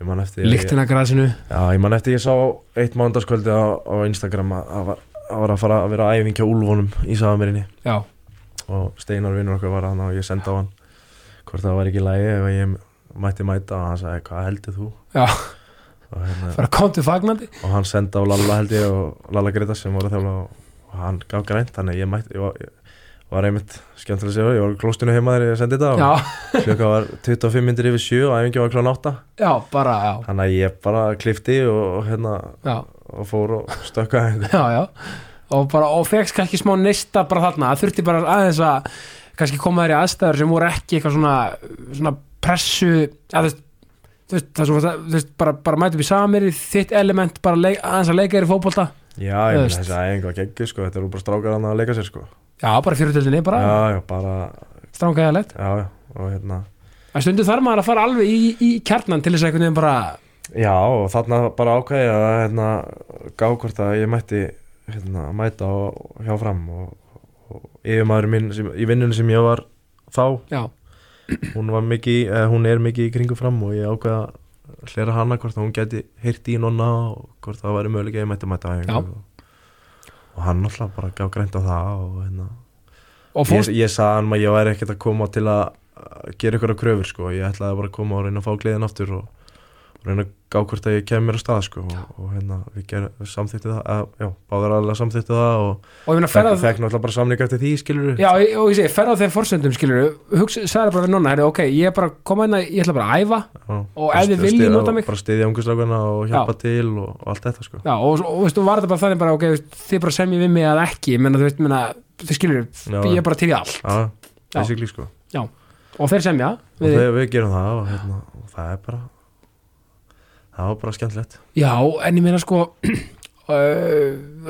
Speaker 2: ég man eftir
Speaker 1: líktina græsinu
Speaker 2: Já, ég man eftir ég sá eitt mándaskvöldi á, á Instagram að það var, það var að fara að vera æfingja úlfunum í Safamirinni
Speaker 1: Já,
Speaker 2: og Steinar vinnur okkar var hann og ég sendi á hann hvort það var ekki lægi ef ég mætti mæta og hann sagði hvað heldur þú
Speaker 1: Já.
Speaker 2: og, hérna,
Speaker 1: bara kom til fagnandi
Speaker 2: og hann sendi á Lalla held ég og Lalla Greta sem var að þjála og, og hann gaf grænt þannig að ég mætti ég var, ég var einmitt skemmtilega að segja ég var í klóstinu heima þegar ég sendi þetta
Speaker 1: Já,
Speaker 2: og klukka var 25 myndir yfir 7 og æfingi var klán 8
Speaker 1: já, bara, já,
Speaker 2: þannig að ég bara klifti og, og hérna
Speaker 1: já,
Speaker 2: og fór og stökka einhver
Speaker 1: já, já Og bara, og fegst kannski smá neista bara þarna Það þurfti bara aðeins að kannski koma þér í aðstæður sem voru ekki eitthvað svona svona pressu að, þú veist, þú veist, það sem var það- þú veist, bara, bara mæta upp í samir þitt element, bara leik, aðeins að leika þér í fótbolta
Speaker 2: já ég meina
Speaker 1: Þú veist.
Speaker 2: þessi æfingi var geggjur sko þetta eru bara strákar hann að leika sér sko
Speaker 1: Já, bara fjörutöldinni, bara, ja.
Speaker 2: já já bara
Speaker 1: strángæðalegt
Speaker 2: já já og hérna
Speaker 1: En stundu þarf maður að fara alveg í, í kjarnan til þess að einhvern veginn bara
Speaker 2: Já og þarna bara ákveði að hérna, gá hvort að ég mætti hérna, mæta og hjá fram og, og yfirmaður minn sem, í vinnunni sem ég var þá
Speaker 1: Já,
Speaker 2: hún, var mikið, eh, hún er mikið í kringum fram og ég ákveði að hlera hana hvort að hún geti heyrt í nonna og hvort það væri mögulega að ég mætti mæta á æfingu
Speaker 1: Já.
Speaker 2: og, og hann alltaf bara gaf grænt á það og hérna
Speaker 1: og
Speaker 2: ég,
Speaker 1: fórst
Speaker 2: ég sagði hann að ég væri ekkert að koma til að að gera ykkur að kröfur sko, ég ætlaði bara að koma og reyna að fá gleðin aftur og, og reyna að gá hvort að ég kem mér að stað sko, og, og hérna við, ger, við samþýtti það að, já, báðar aðlega samþýtti það og
Speaker 1: og ég meina
Speaker 2: fekk,
Speaker 1: ferða
Speaker 2: fekk náttúrulega bara samning eftir því skilur
Speaker 1: Já, og ég segi, ferð á þeim forsöndum, skilur hugsa, sagði bara við nonna, herri, ok, ég er bara að koma hérna, ég ætla bara að æfa og ef þið viljið nota mig-
Speaker 2: bara stiðja ungustrákana og hjálpa til og, og allt þetta sko.
Speaker 1: Já, og, og veistu, var þetta bara þannig bara, ok, veist, þið bara semjið við mig að ekki, menna, þú veist, menna, þið skilur,
Speaker 2: Já.
Speaker 1: ég er bara til í allt
Speaker 2: já, basically sko og
Speaker 1: Já, og þeir semja við,
Speaker 2: þegar við gerum það og, hérna, og það er bara það var bara skemmtilegt
Speaker 1: Já, en ég meina sko <clears throat> uh,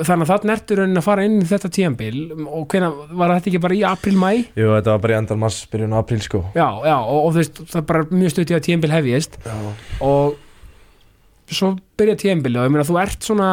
Speaker 1: þannig að þarna ertu raunin að fara inn í þetta tíambil og hvena, var þetta ekki bara í april-mæ?
Speaker 2: Jú, þetta var bara í endar mars, byrjun apríl sko
Speaker 1: Já, já, og, og þú veist, það er bara mjög stutt í að tíambil hefjist
Speaker 2: Já,
Speaker 1: og svo byrja tíambil og ég meina, þú ert svona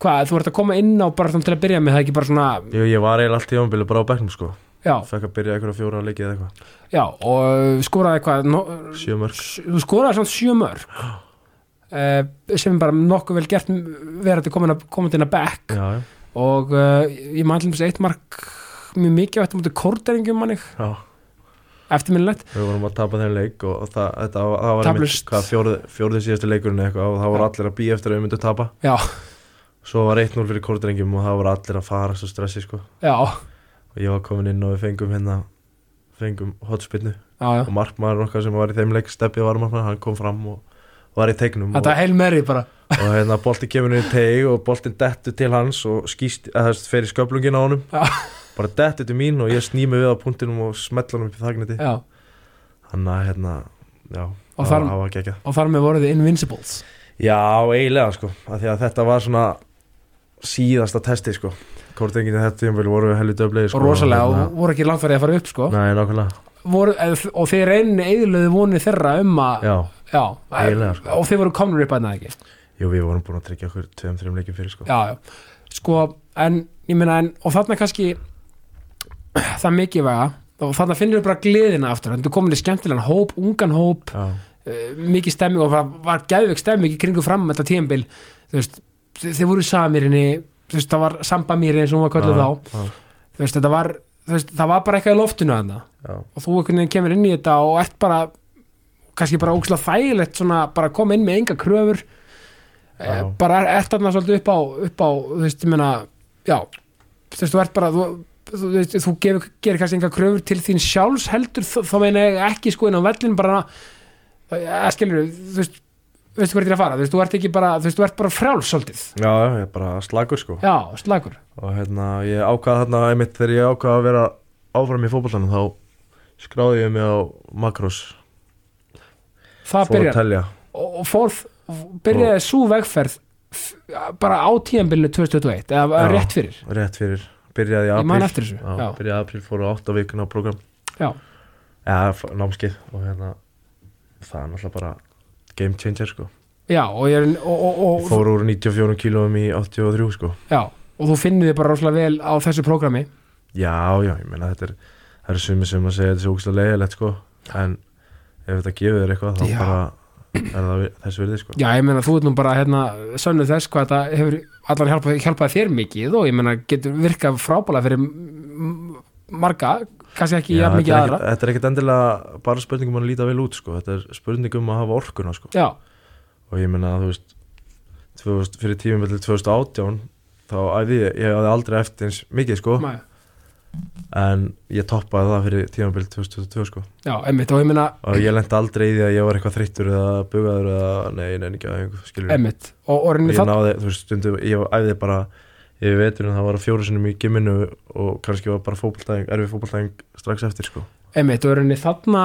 Speaker 1: hvað, þú ert að koma inn á bara þannig til að byrja með það er ekki bara svona,
Speaker 2: Jú, ég var eiginlega allt í ámbilið bara á bekknum sko
Speaker 1: já,
Speaker 2: Fekk að byrja einhverja fjóra leikið eða eitthvað
Speaker 1: já og skoraði hvað, no,
Speaker 2: Sjö mörg
Speaker 1: þú skoraði svona sjö mörg uh, sem er bara nokkuð vel gert verandi komin að komin inn að back
Speaker 2: Já, já,
Speaker 1: og uh, ég maður allir með eitt mark mjög mikið á þetta mútið korteringum manni
Speaker 2: já
Speaker 1: eftirminnilegt
Speaker 2: Við vorum að tapa þeim leik og það, þetta, var- það var einmitt,
Speaker 1: Taplaust.
Speaker 2: hvað, fjórði, fjórði síðasti leikurinn eða eitthvað og það voru
Speaker 1: Já.
Speaker 2: allir að býja eftir að við myndum tapa
Speaker 1: já,
Speaker 2: Svo var 1-0 fyrir kórdrengjum og það voru allir að fara svo stressi sko
Speaker 1: já,
Speaker 2: og ég var komin inn og við fengum hérna fengum hotspinnu
Speaker 1: já, já.
Speaker 2: og markmaður okkar sem var í þeim leik steppi var markmaður, hann kom fram og var í tegnum og,
Speaker 1: þetta er heil meiri bara
Speaker 2: og hérna bolti kemur niður í teg og boltin dettu til hans og skýst, eða þess fer í sköflungin á honum
Speaker 1: Já.
Speaker 2: bara dettu til mín og ég snými við á punktinum og smetla hann upp í þagniti
Speaker 1: já.
Speaker 2: hann að hérna, já
Speaker 1: Og
Speaker 2: það var-
Speaker 1: þar-
Speaker 2: það var geggjað
Speaker 1: og þar með voruð þið invincibles
Speaker 2: já, eiginlega sko, af því að þetta var svona síðasta testi sko kortingin í þetta tímafél voru helvið döflegi sko
Speaker 1: og rosalega,
Speaker 2: hérna,
Speaker 1: og voru ekki langfærið að fara upp sko.
Speaker 2: Nei, nákvæmlega,
Speaker 1: voru, eð- og þeir reyni eðlöðu vonið þeirra um að
Speaker 2: já
Speaker 1: já,
Speaker 2: Eiginlega, sko.
Speaker 1: og þeir voru komnur upp að það ekki
Speaker 2: Jú, við vorum búin að tryggja okkur tveim, þreim leikin fyrir sko
Speaker 1: já, já. sko, en ég meina en, og þarna kannski <clears throat> það mikilvæga og þarna finnir við bara gleðina aftur þannig að þú komin í skemmtilegan hóp, ungan hóp
Speaker 2: Já,
Speaker 1: uh, mikið stemming og það var gæðveik stemming í kringum fram þetta tíðanbil þú veist, þi- þeir voru samirinni þú veist, það var sambamýri eins og hún var kallið
Speaker 2: Já,
Speaker 1: þá
Speaker 2: já,
Speaker 1: þú veist, þetta var, þú veist, það var bara eitthvað í loftinu þarna
Speaker 2: já,
Speaker 1: og þú einhvern veginn kemur inn í þetta og ert bara kannski bara ógslag þægilegt svona bara koma inn með enga kröfur já.
Speaker 2: Já.
Speaker 1: bara er- ert þarna svolítið upp á, upp á þú veist, ég meina, já þú veist, þú ert bara þú, þú, veist, þú gefur, gerir kannski enga kröfur til þín sjálfs heldur þ- þá meina ég ekki sko inn á vellin bara að skilur þú veist, veistu hvað er til að fara þú veist, þú ert ekki bara, þú veist, þú ert bara frjáls svolítið
Speaker 2: já, ég er bara slagur sko
Speaker 1: já, slagur,
Speaker 2: Og hérna, ég ákvaða þarna einmitt þegar ég ákvaða að vera áfram í fótbollanum þá skráði ég mig á Makros
Speaker 1: það
Speaker 2: Fór að
Speaker 1: byrjar
Speaker 2: telja
Speaker 1: og, og fór, byrjaði svo vegferð f- bara á tíðanbylnu 2021 eða
Speaker 2: Já.
Speaker 1: rétt fyrir
Speaker 2: rétt fyrir Byrjaði í
Speaker 1: Ég
Speaker 2: apríl
Speaker 1: man eftir þessu,
Speaker 2: Já,
Speaker 1: já.
Speaker 2: Byrjaði í apríl, fóru á 8 vikuna á program
Speaker 1: já,
Speaker 2: Já, f- námskeið og hérna Það er náttúrulega bara game changer sko
Speaker 1: já og, ég, er- og, og, og,
Speaker 2: Ég fór úr 94 kílóum í 83 sko
Speaker 1: já, og þú finnir þið bara rosalega vel á þessu prógrami
Speaker 2: Já, já, ég meina þetta er það eru sumir sem að segja þetta er ógæslega leiðilegt sko en ef þetta gefur þér eitthvað þá
Speaker 1: Já.
Speaker 2: bara er það vi- þess virði sko
Speaker 1: já, ég meina þú ert nú bara hérna, sönnuð þess hvað þetta hefur allan hjálpað, hjálpað þér mikið og ég meina getur virkað frábæla fyrir m- m- marga kannski ekki jafn
Speaker 2: þetta,
Speaker 1: mikið
Speaker 2: er
Speaker 1: aðra
Speaker 2: ekkit, þetta er ekkit endilega bara spurningum að líta vel út sko þetta er spurningum að hafa orkuna sko
Speaker 1: já,
Speaker 2: og ég meina þú veist 2000, fyrir tímum til 2018 þá æði ég, ég hafði aldrei eftir eins mikið sko
Speaker 1: mæ,
Speaker 2: en ég toppaði það fyrir tímum til 2022 sko
Speaker 1: já, emmitt og ég meina
Speaker 2: og ég lendi aldrei í því að ég var eitthvað þreyttur eða bugaður eða nei, nei, ekki að skilur
Speaker 1: emmitt og, og
Speaker 2: og
Speaker 1: reynir
Speaker 2: ég
Speaker 1: það
Speaker 2: náði, þú veist, stundum ég æfði bara, ég veitur en það var fjóru sinnum í gimminu og kannski var bara fótboltæðing, erfið fótboltæðing strax eftir sko.
Speaker 1: Einmitt, og rauninni þarna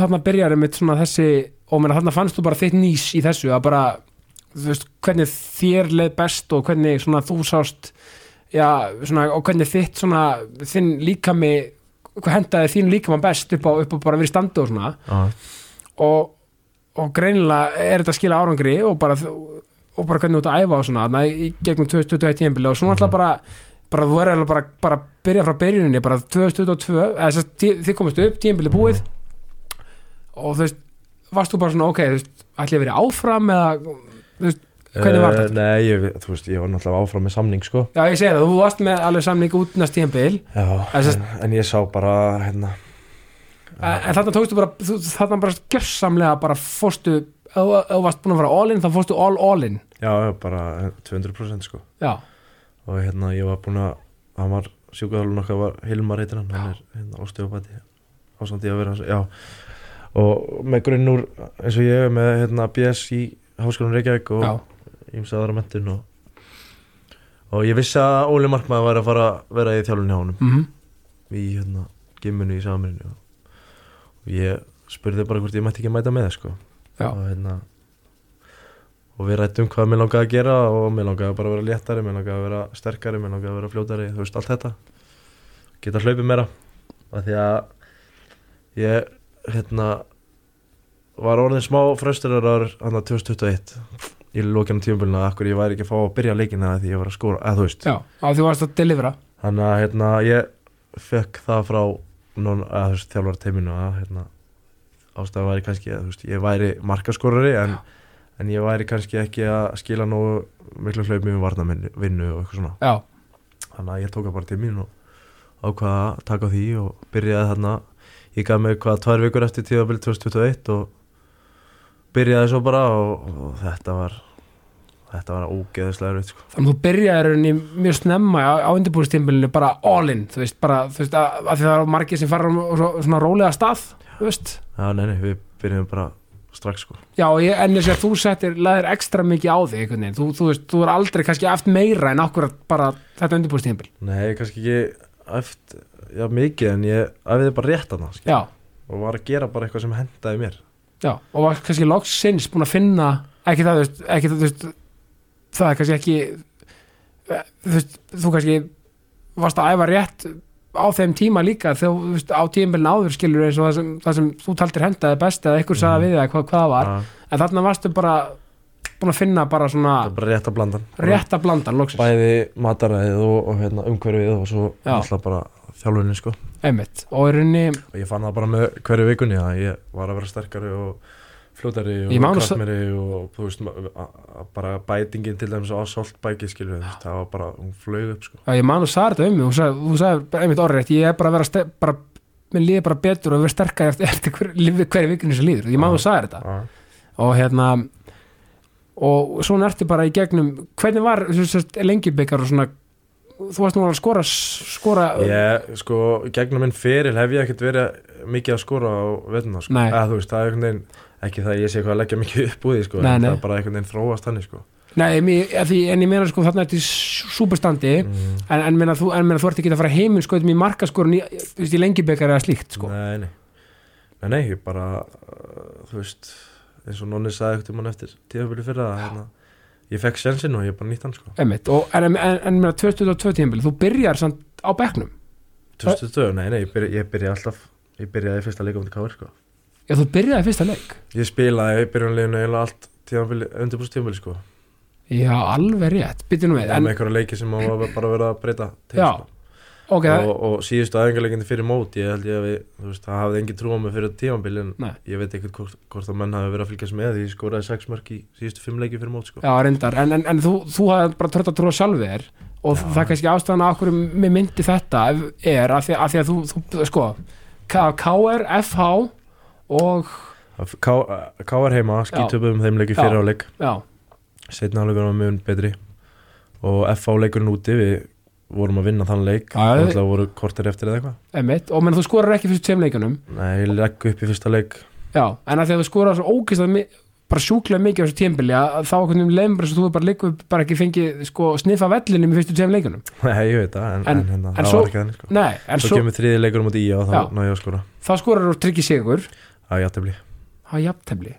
Speaker 1: þarna byrjar einmitt svona þessi og menna, þarna fannst þú bara þitt nýs í þessu að bara, þú veist, hvernig þér leið best og hvernig svona þú sást já, svona, og hvernig þitt svona, þinn líkami hvað hendaði þín líkama best upp á, upp á bara að vera í standi og svona og, og greinilega er þetta að skila árangri og bara, og bara hvernig þú ert að æfa og svona na, í gegnum 2021 tíðanbili og svona alltaf bara bara þú verður eiginlega bara, bara að byrja frá byrjuninni bara 2022, eða þess að tí- þið komist upp tíðanbili búið og þú veist, varst þú bara svona ok, þú veist, ætli ég að vera áfram eða, þú veist, hvernig var þetta?
Speaker 2: Eh, Nei, ég, þú veist, ég var náttúrulega áfram með samning sko.
Speaker 1: Já, ég segi það, þú varst með alveg samning út næst tíðanbili
Speaker 2: Já,
Speaker 1: Þess að-
Speaker 2: en, en ég sá bara, hérna,
Speaker 1: en þarna tókstu bara þú- þarna bara gjörsamlega bara fórstu ef ef þú varst búin að fara all in þá fórstu all all in
Speaker 2: já, já, bara 200% sko
Speaker 1: já,
Speaker 2: og hérna ég var búin að hann var sjúkaðalun okkar var Hilmar heitir hann, hann er hérna óstjófabæti á samt í að vera, já og með grunn úr, eins og ég er með hérna BS í Háskólanum Reykjavík og
Speaker 1: já,
Speaker 2: ímsa aðra mentin og, og ég vissi að Óli Markmaður var að fara að vera í þjálfunni á honum
Speaker 1: mhm
Speaker 2: í hérna gimminu í samirinu og ég spurði bara hvort ég mætti ekki mæta með sko.
Speaker 1: Já.
Speaker 2: og hérna og við rættum hvað mér langaði að gera og mér langaði bara að vera léttari, mér langaði að vera sterkari mér langaði að vera fljótari, þú veist, allt þetta geta hlaupið meira af því að ég hérna var orðin smá frösturar hann að 2021 í lókinu tímabölina, akkur ég væri ekki að fá að byrja leikina því ég var að skóra, eða þú veist
Speaker 1: Já, á því varst að delivera
Speaker 2: Þannig að hérna, ég fekk það frá non, að, þú veist, þjálfara teiminu að hérna, ástæða væri kannski að þú veist, ég væri markaskorari en, en ég væri kannski ekki að skila nógu miklu hlaupum í varnavinnu og eitthvað svona.
Speaker 1: Já,
Speaker 2: Þannig að ég tók það bara til mín og ákvaða að taka á því og byrjaði þarna, ég gaf mig hvað tvær vikur eftir tíðabil 2021 og byrjaði svo bara og, og þetta var, þetta var ógeðislega erfitt sko.
Speaker 1: þannig að þú byrjaði rauninni mjög snemma á, á undirbúrstímbilinu bara all in þú veist, bara, þú veist, að, að því það eru margir sem fara á svo, svona rólega stað, þú veist
Speaker 2: Já, nei, nei, við byrjum bara strax sko.
Speaker 1: Já, og ég, en þess að þú settir laðir ekstra mikið á þig, einhvern veginn þú, þú veist, þú er aldrei kannski aft meira en akkurat bara þetta undirbúrstímbil
Speaker 2: Nei, kannski ekki æft, já, mikið en ég æfiði bara rétt hana skil,
Speaker 1: Já,
Speaker 2: og var að gera bara eitthvað sem hendaði mér
Speaker 1: já, og var kannski loksins búin að finna, ekki það, þú veist ekki það, þú veist það er kannski ekki þú veist, þú kannski varst að æfa rétt á þeim tíma líka þegar þú veist, á tímbilin áður skilur eins og það sem, það sem þú taldir hendaði best eða ykkur sagði við það hvað, hvað það var
Speaker 2: Að-
Speaker 1: en þarna varstu bara búin að finna bara svona
Speaker 2: Það er bara rétt að blanda
Speaker 1: rétt að blanda loksins,
Speaker 2: Bæði mataræðið og, og hérna, umhverfið og svo
Speaker 1: Já.
Speaker 2: alltaf bara þjálfunni sko.
Speaker 1: einmitt og í rauninni,
Speaker 2: og ég fann það bara með hverju vikunni að ég var að vera sterkari og fljótari og
Speaker 1: Ég man að-
Speaker 2: kraftmeri og þú veist ma- a- a- bara bætingin til dæmis á soltbæki skilu það var bara, hún flög upp sko.
Speaker 1: að ég man og sagði þetta um mig þú sagði, þú sagði bara einmitt orðrétt, ég er bara að vera ste- bara, mér líði bara betur og vera sterkar eftir, eftir hver, lífi- hverju vikinu sem líður ég man og sagði þetta
Speaker 2: Að-
Speaker 1: og hérna og svona ertu bara í gegnum hvernig var lengjubikar og svona þú varst nú að skora skora
Speaker 2: Ég, sko, gegnum minn feril hef ég ekkert verið mikið að skora á vettuna, sko.
Speaker 1: Nei.
Speaker 2: Eða, þú veist, það er einhvern veginn, ekki það að ég sé hvað að leggja mikið upp úr því, sko. en
Speaker 1: Nei, nei.
Speaker 2: Það er bara einhvern veginn þróast þannig, sko.
Speaker 1: Nei, mér, að því, en ég meina sko þarna ertu í súperstandi
Speaker 2: Mm. Mhm.
Speaker 1: en, en, meina, þú, en meina þú ert ekki að fara heiminn sko í markaskorun í, þú veist, í lengjubikar eða slíkt sko
Speaker 2: Nei, nei. Nei, nei, ég bara, uh, þú veist, eins og nonni sagði ekkert um hann eftir tíðafölu fyrir að, hérna, ég fekk sjansinn og ég bara nýtt hann, sko.
Speaker 1: Einmitt, og, en, en, en, en meina 2002 tímbil þú byrjar samt á bekknum
Speaker 2: 2020, nei, nei, ég byrja, ég byrja alltaf, ég byrjaði í fyrsta leikum til KR, sko.
Speaker 1: Já, þú byrjaði fyrsta leik
Speaker 2: Ég spilaði í byrjunleginu eiginlega allt tíðanbili, undirbúst tíðanbili sko
Speaker 1: Já, alveg rétt, byrjum við
Speaker 2: en,
Speaker 1: en,
Speaker 2: með einhverja leiki sem maður var bara verið að breyta til
Speaker 1: Já,
Speaker 2: sko.
Speaker 1: ok,
Speaker 2: og, og síðustu æfingarleikindi fyrir mót ég held ég að við, þú veist, það hafði engin trú á mig fyrir tímambil en
Speaker 1: Nei.
Speaker 2: ég veit ekkert hvort, hvort að menn hafi verið að fylgjast með því ég skoraði sex mörg í síðustu fimm leiki fyrir mót sko.
Speaker 1: já, reyndar en, en, en þú, þú hafði bara trött að trúa sjálfi þér og
Speaker 2: Já.
Speaker 1: það er kannski ástæðan að okkur með myndi þetta ef- er að því að, því að þú, þú sko, K- KR, FH og,
Speaker 2: Af- K- K.R. heima, skítöpuðum þeim leiki
Speaker 1: Já.
Speaker 2: fyrir áleik
Speaker 1: já,
Speaker 2: setna áleikur var mjög betri og F.A. leikurinn úti við vorum að vinna þann leik
Speaker 1: Já,
Speaker 2: það
Speaker 1: við-
Speaker 2: ætla að voru kortir eftir eða eitthvað
Speaker 1: einmitt og menn þú skorar ekki fyrst sem leikunum
Speaker 2: Nei, ég legg upp í fyrsta leik <laughs>
Speaker 1: já, en að því að þú skorar svo ógist að bara sjúklega mikið á þessu tímbili að þá okkur um leiðum bara svo þú bara leikur bara ekki fengið sko sniffa vellinum í fyrstu sem leikunum
Speaker 2: Nei, ég veit það, en,
Speaker 1: En-
Speaker 2: en, hérna,
Speaker 1: en
Speaker 2: það
Speaker 1: svo-
Speaker 2: var ekki þannig sko.
Speaker 1: nei, en
Speaker 2: Svo,
Speaker 1: svo,
Speaker 2: kemur þriði leikur um út í og þá
Speaker 1: Já.
Speaker 2: ná ég að skora
Speaker 1: þá skorar þú tryggir sigur
Speaker 2: Það er jættefli
Speaker 1: Það er jafntefli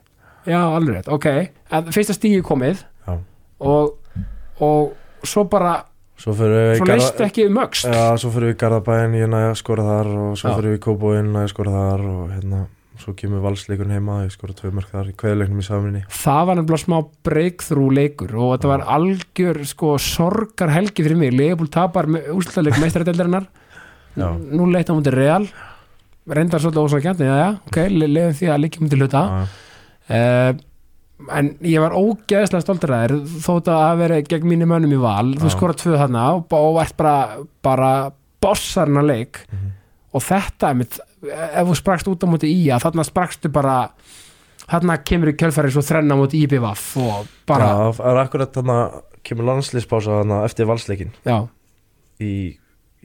Speaker 1: Já, alveg rétt, ok En fyrsta stígi komið
Speaker 2: Já.
Speaker 1: og, og svo bara
Speaker 2: Svo fyrir við í
Speaker 1: Svo
Speaker 2: Garða-
Speaker 1: leist ekki um öxt
Speaker 2: Já, svo fyrir við í Garðabæinn, ég næði að skora þar og svo
Speaker 1: Já.
Speaker 2: fyrir við í Kóbóinn, næði að skora þar og hérna, svo kemur valsleikun heima, ég skora tvö mörg þar í kveðleiknum í samrinni.
Speaker 1: Það var nefnilega smá breakthrough leikur og þetta var algjör sko sorgar helgi fyrir mig Leifbúl tapar úrslutaleik meistaradeldarinnar
Speaker 2: Já.
Speaker 1: Nú leitt á mútið Real Reyndar svolítið ósakjandi, já, já, ok, leiðum því að líkjum til hluta
Speaker 2: Já,
Speaker 1: uh, en ég var ógeðslega stoltur að þér þótt að það veri gegn mínum mönnum í val þú
Speaker 2: Já.
Speaker 1: skorað tvö þarna og, og ert bara, bara bossarinn að leik
Speaker 2: Mhm.
Speaker 1: og þetta einmitt, eh, ef þú sprakst út á móti í að þarna sprakstu bara þarna kemur í kjölfæri svo þrenna á móti íbivaf og bara,
Speaker 2: Já, það er akkurat þannig að kemur landslýspása þannig eftir valsleikin
Speaker 1: já,
Speaker 2: í,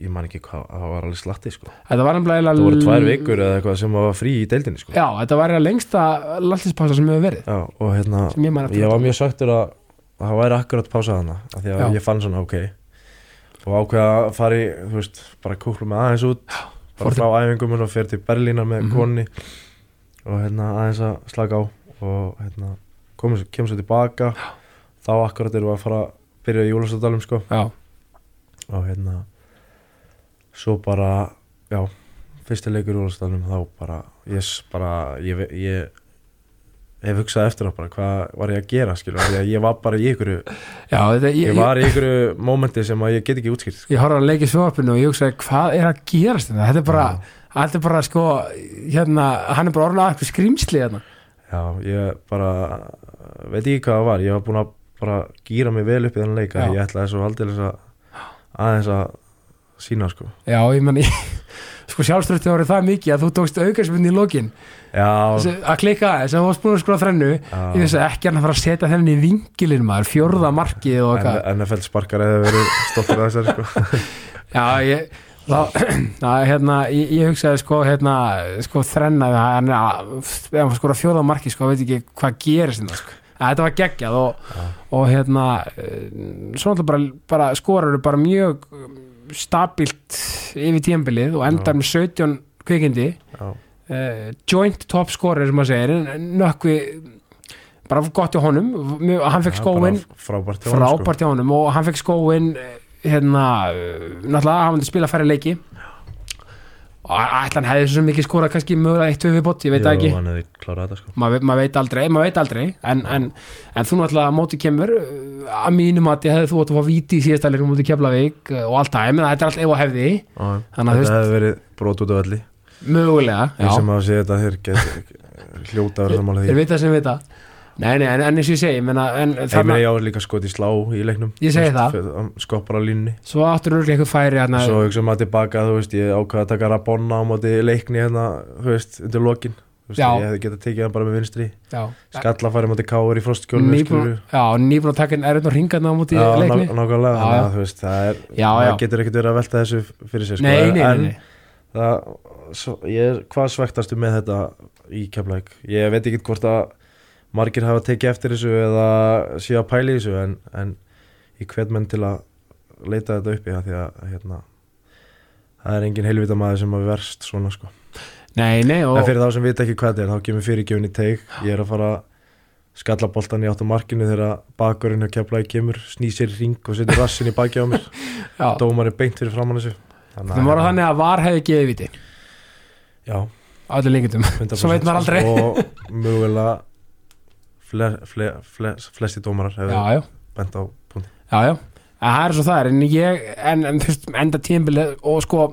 Speaker 2: ég man ekki hvað, það var alveg slatti sko.
Speaker 1: þetta var nefnilega
Speaker 2: Það voru tvær vikur eða eitthvað sem var frí í deildinni sko.
Speaker 1: já, þetta var eiginlega lengsta landslíspása sem hefur verið
Speaker 2: Já, og hérna,
Speaker 1: Sem ég man eftir.
Speaker 2: ég var mjög sögtur að að það væri akkurat pása þarna af því að
Speaker 1: Já.
Speaker 2: ég fann svona ok og ákveða að fara í, þú veist, bara kúklu með aðeins út bara
Speaker 1: fór til-
Speaker 2: frá æfingum og fyrir til Berlína með mm
Speaker 1: Mhm.
Speaker 2: og hérna aðeins að slaka á og hérna komum, svo- kemum svo tilbaka þá akkurat erum við að fara að byrja í Júlastóttalum sko
Speaker 1: já,
Speaker 2: og hérna svo bara, já fyrsti leikur í úrstæðanum þá bara ég, s- bara, ég, ve- ég hef hugsað eftir á bara hvað var ég að gera skilur, því að ég var bara í ykkur ég
Speaker 1: já, þetta, ég, ég,
Speaker 2: var í ykkur momenti sem að ég get ekki útskýrt sko.
Speaker 1: ég horfði að leikið sjóðarpinu og ég hugsaði hvað er að gerast hérna? þetta þetta er bara, þetta er bara sko hérna, hann er bara orðin að eitthvað skrýmsli hérna.
Speaker 2: já, ég bara veit ekki hvað það var, ég var búin að bara gýra mig vel upp í þennan leika
Speaker 1: Já.
Speaker 2: ég ætlaði svo aldeilis að aðeins að sína sko
Speaker 1: já, ég menn ég, <laughs> sko sjálfströfti voru það mikið að þú tókst aukarsmynd í lokin
Speaker 2: já,
Speaker 1: sem- að klikka aðeins, sem þú varst búin að skora þrennu ég
Speaker 2: já.
Speaker 1: veist að ekki hann að fara að setja þennan í vingilin maður, fjórða markið og eitthvað
Speaker 2: NFL sparkar eða verið stoltur að þessari sko
Speaker 1: Já, ég þá, <clears throat> að, hérna, ég, ég hugsaði sko, hérna, sko þrenna við hann að, ef hann skora fjóða marki sko, veit ekki hvað gerist hérna sko. að, þetta var geggjað og, og hérna eh, svo alltaf bara, bara skorur bara mjög um, stabilt yfir tímabilið og endar með 17 kvikindi
Speaker 2: já,
Speaker 1: uh, joint top scorer sem maður segir en nökkvi bara gott hjá honum, mjög, hann fekk
Speaker 2: Já,
Speaker 1: skóin
Speaker 2: bara frábært hjá honum, sko.
Speaker 1: frábært hjá honum og hann fekk skóin hérna, uh, náttúrulega hann myndi spila færri leiki og ætla hann hefði svo mikið skora kannski mögulega eitt við bótt, ég veit það ekki
Speaker 2: Jú, hann hefði klárað þetta sko
Speaker 1: maður veit, maður veit aldrei, maður veit aldrei en, en, en þú náttúrulega að móti kemur uh, að mínum að hefði þú átt að fá víti í síðasta leikum móti Keflavík uh, og allt það, ég meina þetta er allt ef og hefði Þannig að
Speaker 2: Þetta hefði verið brot út af öllu
Speaker 1: mögulega,
Speaker 2: Þeir sem
Speaker 1: já,
Speaker 2: hafa séð þetta þeir
Speaker 1: <laughs>
Speaker 2: geti hljóta að vera sammála því
Speaker 1: þeir vita sem vita nei, nei, en, en eins og ég segi, ég meina en,
Speaker 2: Þeir meina
Speaker 1: þarna,
Speaker 2: ég á líka skot í slá í leiknum
Speaker 1: Ég segi
Speaker 2: Þú
Speaker 1: það.
Speaker 2: veist, hann Skoppar á línni
Speaker 1: svo áttur örglega eitthvað færi hérna,
Speaker 2: Svo hugsaðum að tilbaka, þú veist, ég ákvaða að taka rabonna á móti leikni hérna, þú veist, undir lokin Þú veist,
Speaker 1: Já.
Speaker 2: Ég hefði getað tekið hann bara með vinstri
Speaker 1: já,
Speaker 2: Skalla farið móti káur í frostkjólinu
Speaker 1: nýbúin já, nýbúin að taka erðin og ringa þarna á móti
Speaker 2: Já,
Speaker 1: leikni
Speaker 2: ná- nákvæmlega,
Speaker 1: Já, já.
Speaker 2: þannig að þú veist, það er,
Speaker 1: Já,
Speaker 2: það
Speaker 1: já.
Speaker 2: getur ekkert verið að velta þessu fyrir sér sko.
Speaker 1: nei, nei,
Speaker 2: En
Speaker 1: nei, nei.
Speaker 2: það, svo, ég er hvað svektastu með þetta í Keflæk ég veit ekki hvort að margir hafa tekið eftir þessu eða séu að pæla í þessu en, en ég hvet menn til að leita þetta uppi því að hérna, það er engin heilvita maður sem að verst svona sko
Speaker 1: Nei, nei, og
Speaker 2: en fyrir þá sem vita ekki hvað þetta er þá kemur fyrirgjöfin í teig ég er að fara að skalla boltan í áttu markinu þegar bakurinn hjá Keflæk kemur snýsir ring og setur rassin í baki á mér
Speaker 1: já,
Speaker 2: dómar er beint fyrir framann þessu
Speaker 1: það voru þannig að var hefði gefið viti
Speaker 2: já,
Speaker 1: á allir lengindum
Speaker 2: 100%
Speaker 1: Svo veit maður aldrei.
Speaker 2: og mögulega fle, fle, fle, flesti dómarar
Speaker 1: Já,
Speaker 2: hefur
Speaker 1: já,
Speaker 2: bent á punkti
Speaker 1: já, já En það er svo það er, en ég en, en þú veist, enda tímbilið og sko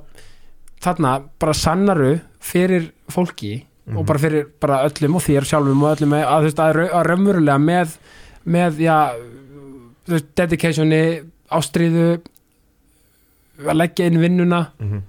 Speaker 1: þarna bara sannaru fyrir fólki
Speaker 2: Mhm.
Speaker 1: og bara fyrir bara öllum og þér sjálfum og öllum að þú veist að, rau- að raunverulega með með, já þú veist, dedicationi, ástriðu að leggja inn vinnuna
Speaker 2: mm -hmm.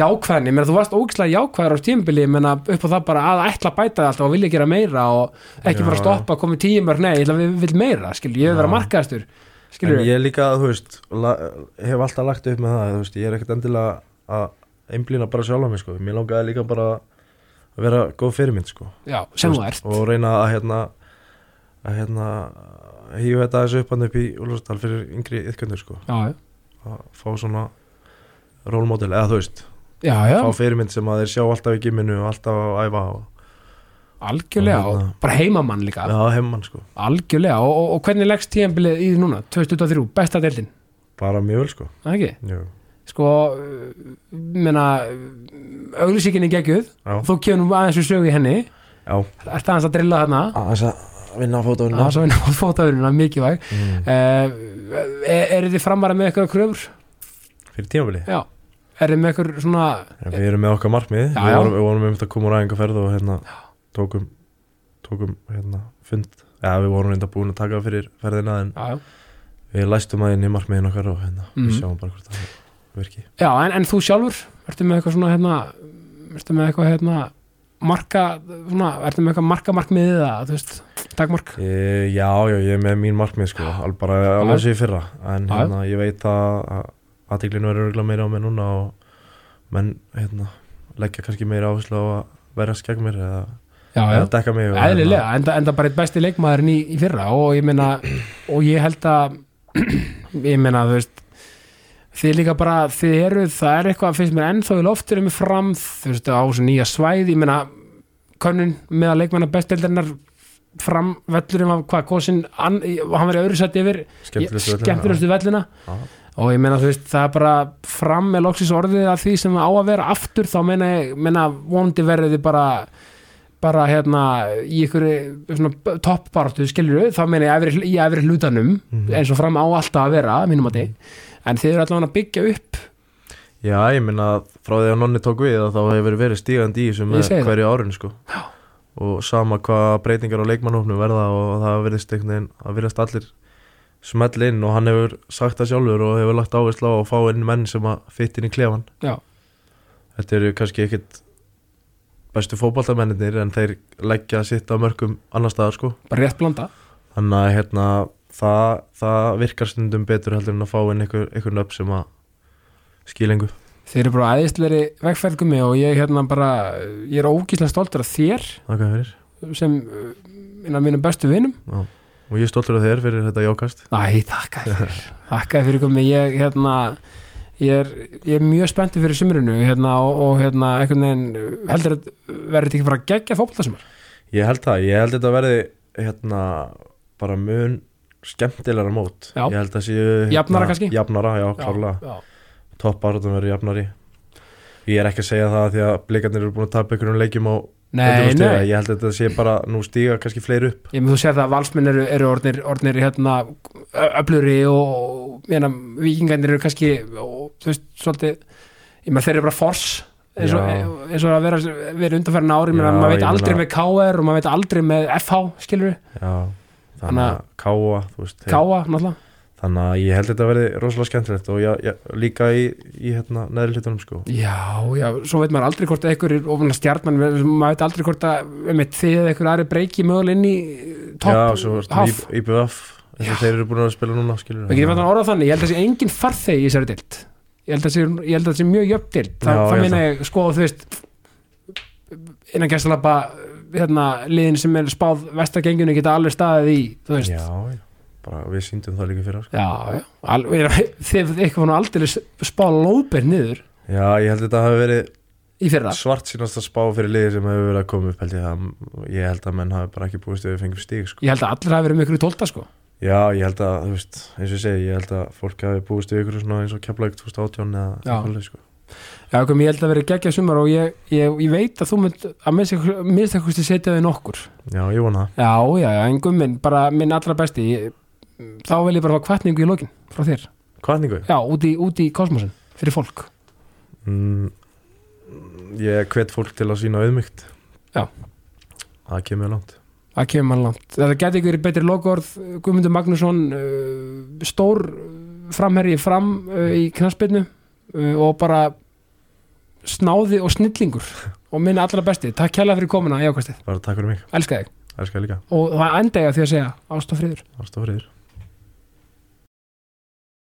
Speaker 1: jákvæðni, menn þú varst ógislega jákvæður á tímbili, menn upp á það bara að ætla að bæta það alltaf og vilja gera meira og ekki
Speaker 2: Já.
Speaker 1: bara stoppa, komið tímur, nei, ég ætla að við vil meira, skilur, ég vil vera
Speaker 2: Já.
Speaker 1: markaðastur
Speaker 2: en
Speaker 1: skilur,
Speaker 2: ég líka, þú veist la, hef alltaf lagt upp með það þú veist, ég er ekkert endilega að einblýna bara sjálf á mig sko, mér langaði líka bara að vera góð fyrirmynd sko
Speaker 1: já, sem
Speaker 2: Þú
Speaker 1: þú
Speaker 2: veist,
Speaker 1: ert
Speaker 2: og reyna að hérna að hérna hýfa þetta þessu upp hann upp í úlfastal fyrir yngri yðkjöndur sko,
Speaker 1: já,
Speaker 2: að fá svona rólmódel, eða þú veist
Speaker 1: já, já,
Speaker 2: fá fyrirmynd sem að þeir sjá alltaf í giminu og alltaf að æfa og
Speaker 1: algjörlega
Speaker 2: og
Speaker 1: og
Speaker 2: hérna-
Speaker 1: bara heimamann líka,
Speaker 2: Já, heimann sko,
Speaker 1: algjörlega og, og, og hvernig leggst tímbilið í því núna, 2023 besta deildin,
Speaker 2: bara mjög vel sko
Speaker 1: það ekki
Speaker 2: Jú.
Speaker 1: sko, uh, menna auglýsíkinni geggjuð,
Speaker 2: Já,
Speaker 1: þú kemur nú aðeins við sögu í henni,
Speaker 2: já
Speaker 1: ert aðeins að drilla þarna
Speaker 2: Aðeins að vinna á fótóinu
Speaker 1: að svo einu á fótaðurina, mikið væg
Speaker 2: mm.
Speaker 1: Uh, er þið framvara með eitthvað kröfur?
Speaker 2: Fyrir tímabili
Speaker 1: Já Er þið með eitthvað svona
Speaker 2: En Við erum með okkar markmið
Speaker 1: Já,
Speaker 2: Við
Speaker 1: já.
Speaker 2: vorum, við vorum einmitt að koma úr æfingarferð og hérna tókum, tókum hérna, fund Já, við vorum reynda búin að taka það fyrir ferðina en
Speaker 1: Já,
Speaker 2: við læstum að inn í markmiðin okkar og hérna,
Speaker 1: Mhm.
Speaker 2: við sjáum bara hvort það virki
Speaker 1: en, en þú sjálfur? Ertu með eitthvað svona hérna ertu með eitthvað hérna marka, svona, ertu með eitthvað marka markmiðið það, þú veist, takmark
Speaker 2: E, já, já, ég er með mín markmið sko, alveg bara alveg sér fyrra en
Speaker 1: Já.
Speaker 2: hérna, ég veit að að aðtiklinu er örgulega meira á mig núna og menn, hérna, leggja kannski meira áherslu á að verjast gegn mér eða,
Speaker 1: já, já,
Speaker 2: eða dekka mig og, hérna,
Speaker 1: eðlilega, enda, enda bara eitt besti leikmaðurinn í, í fyrra og ég meina og ég held að <clears throat> ég meina, þú veist þið líka bara, þið eru, það er eitthvað finnst mér ennþá í lofturum fram þú veist, á þessu nýja svæð, ég meina könnun með að leikmanna bestildinnar fram vellurum af hvað kosin, hann, hann verið öðru sett yfir
Speaker 2: hérna, skemmtilegustu völlurinn,
Speaker 1: skemmtilegustu vellina
Speaker 2: já, já.
Speaker 1: og ég meina þú veist það er bara fram með loksins orðið að því sem á að vera aftur þá meina, ég- meina vondi verðið þið bara bara hérna í ykkur svona toppbartu skilur þá meina ég efri, í efri hlutanum
Speaker 2: Mhm.
Speaker 1: eins og fram á alltaf að vera að mínum að þig en þið eru allavega að byggja upp
Speaker 2: Já, ég minna að frá því að nonni tók við að þá hefur verið stígandi í þessu
Speaker 1: Ég
Speaker 2: með
Speaker 1: segi það.
Speaker 2: hverju árun sko. og sama hvað breytingar á leikmannhófnum verða og það verðist einhvern veginn að verðast allir smell inn og hann hefur sagt það sjálfur og hefur lagt áherslu á að fá inn menn sem að fytt inn í klefan
Speaker 1: já,
Speaker 2: Þetta eru kannski ekkit bestu fótballtamennir en þeir leggja sitt á mörgum annar staðar sko
Speaker 1: bara rétt blanda
Speaker 2: þannig að hérna, það, það virkar stundum betur heldur en að fá inn einhver, einhver nöfn sem að skýlengu
Speaker 1: þið eru bara aðeinsleiri vegferðgumi og ég hérna bara ég er ógíslega stoltur af þér
Speaker 2: Þakka fyrir
Speaker 1: sem minna mínum bestu vinum
Speaker 2: Já. og ég er stoltur af þér fyrir þetta jákast
Speaker 1: Æ, þakka þér fyrir Þakka þér fyrir komið ég, hérna, ég, er, ég er mjög spenntið fyrir sumrinu hérna, og, og hérna, einhvern veginn heldur að verður þetta ekki bara geggja fótboltasumar
Speaker 2: <laughs> ég held það, ég held þetta verði hérna, bara mun skemmtilegra mót
Speaker 1: Já.
Speaker 2: ég held að séu hérna,
Speaker 1: Jafnara kannski?
Speaker 2: jafnara, já, klárlega
Speaker 1: já,
Speaker 2: topparotum verður jafnari ég er ekki að segja það því að blikarnir eru búin að tapa einhverjum leikjum á
Speaker 1: Nei,
Speaker 2: 100 stiga.
Speaker 1: nei,
Speaker 2: ég held að þetta sé bara nú stíga kannski fleiri upp
Speaker 1: ég með þú sér það að valsmenn eru, eru orðnir, orðnir hérna, öfluri og hérna, vikingarnir eru kannski og, þú veist, svolítið ég með þeir eru bara fors eins og,
Speaker 2: Já.
Speaker 1: eins og að vera, vera undanferðin ári
Speaker 2: Já,
Speaker 1: maður veit
Speaker 2: ég
Speaker 1: aldrei
Speaker 2: meina-
Speaker 1: með KR og maður veit aldrei með FH skilur við,
Speaker 2: já, þannig
Speaker 1: Þannig
Speaker 2: að káa þú veist, þeir-
Speaker 1: KA náttúrulega
Speaker 2: þannig að ég held þetta verði rosalega skemmtilegt og já, já, líka í, í hérna, neðri hlutunum sko
Speaker 1: Já, já, svo veit maður aldrei hvort að einhver er ofan að stjarnan, maður veit aldrei hvort að einmitt, þið eða einhver aðri breyki mögul inn í eh,
Speaker 2: já,
Speaker 1: topp,
Speaker 2: svo varst
Speaker 1: haf
Speaker 2: IBF eins og þeir eru búin að spila núna skilur
Speaker 1: Við getum að orða þannig, ég held að sé engin farþegi í þessari dild Ég held að sé, ég held að sé mjög jöfn dild Þa,
Speaker 2: Já,
Speaker 1: Það
Speaker 2: ég
Speaker 1: meina ég, sko, þú veist innan gæstalapa hérna, liðin sem er spáð vestagengjunni geta alveg staðið í, þú veist
Speaker 2: Já, já, bara við síndum það líka fyrir sko.
Speaker 1: já, já. Alveg, þið eitthvað var nú aldrei spáð lóðberð niður
Speaker 2: Já, ég held þetta hafi verið
Speaker 1: í fyrra
Speaker 2: svart sínast að spá fyrir liði sem hefur verið að koma upp held ég það Ég held að menn hafi bara ekki búist við fengum stíg sko.
Speaker 1: Ég held að allir hafi verið með ykkur í tólta, sko
Speaker 2: Já, ég held að, þú veist, eins og ég segi, ég held að fólk hafi búist við ykkur svona eins og keflaug 2018 eða
Speaker 1: Já.
Speaker 2: eitthvað leið sko.
Speaker 1: Já, kom, ég held að vera geggja sumar og ég, ég, ég veit að þú mynd að minnst að hversu setja þau nokkur
Speaker 2: Já, ég vona það
Speaker 1: Já, já, já, en gummin, bara minn allra besti ég, þá vil ég bara fá kvartningu í lokin frá þér,
Speaker 2: Hvatningu?
Speaker 1: já, út í, út í kosmosin fyrir fólk,
Speaker 2: Mm, ég hvet fólk til að sína auðmygt
Speaker 1: Já.
Speaker 2: Það kemur langt
Speaker 1: það kemur mann langt þetta geti ykkur betri lokaorð Guðmundur Magnússon uh, stór uh, framherji fram uh, í knarsbyrnu uh, og bara snáði og snillingur og minn allra besti, takk kærlega fyrir komuna í ákvæmstið,
Speaker 2: Bara takk fyrir mig,
Speaker 1: elska þig
Speaker 2: elskar líka,
Speaker 1: og það enda ég á því að segja ást og friður
Speaker 2: ástofriður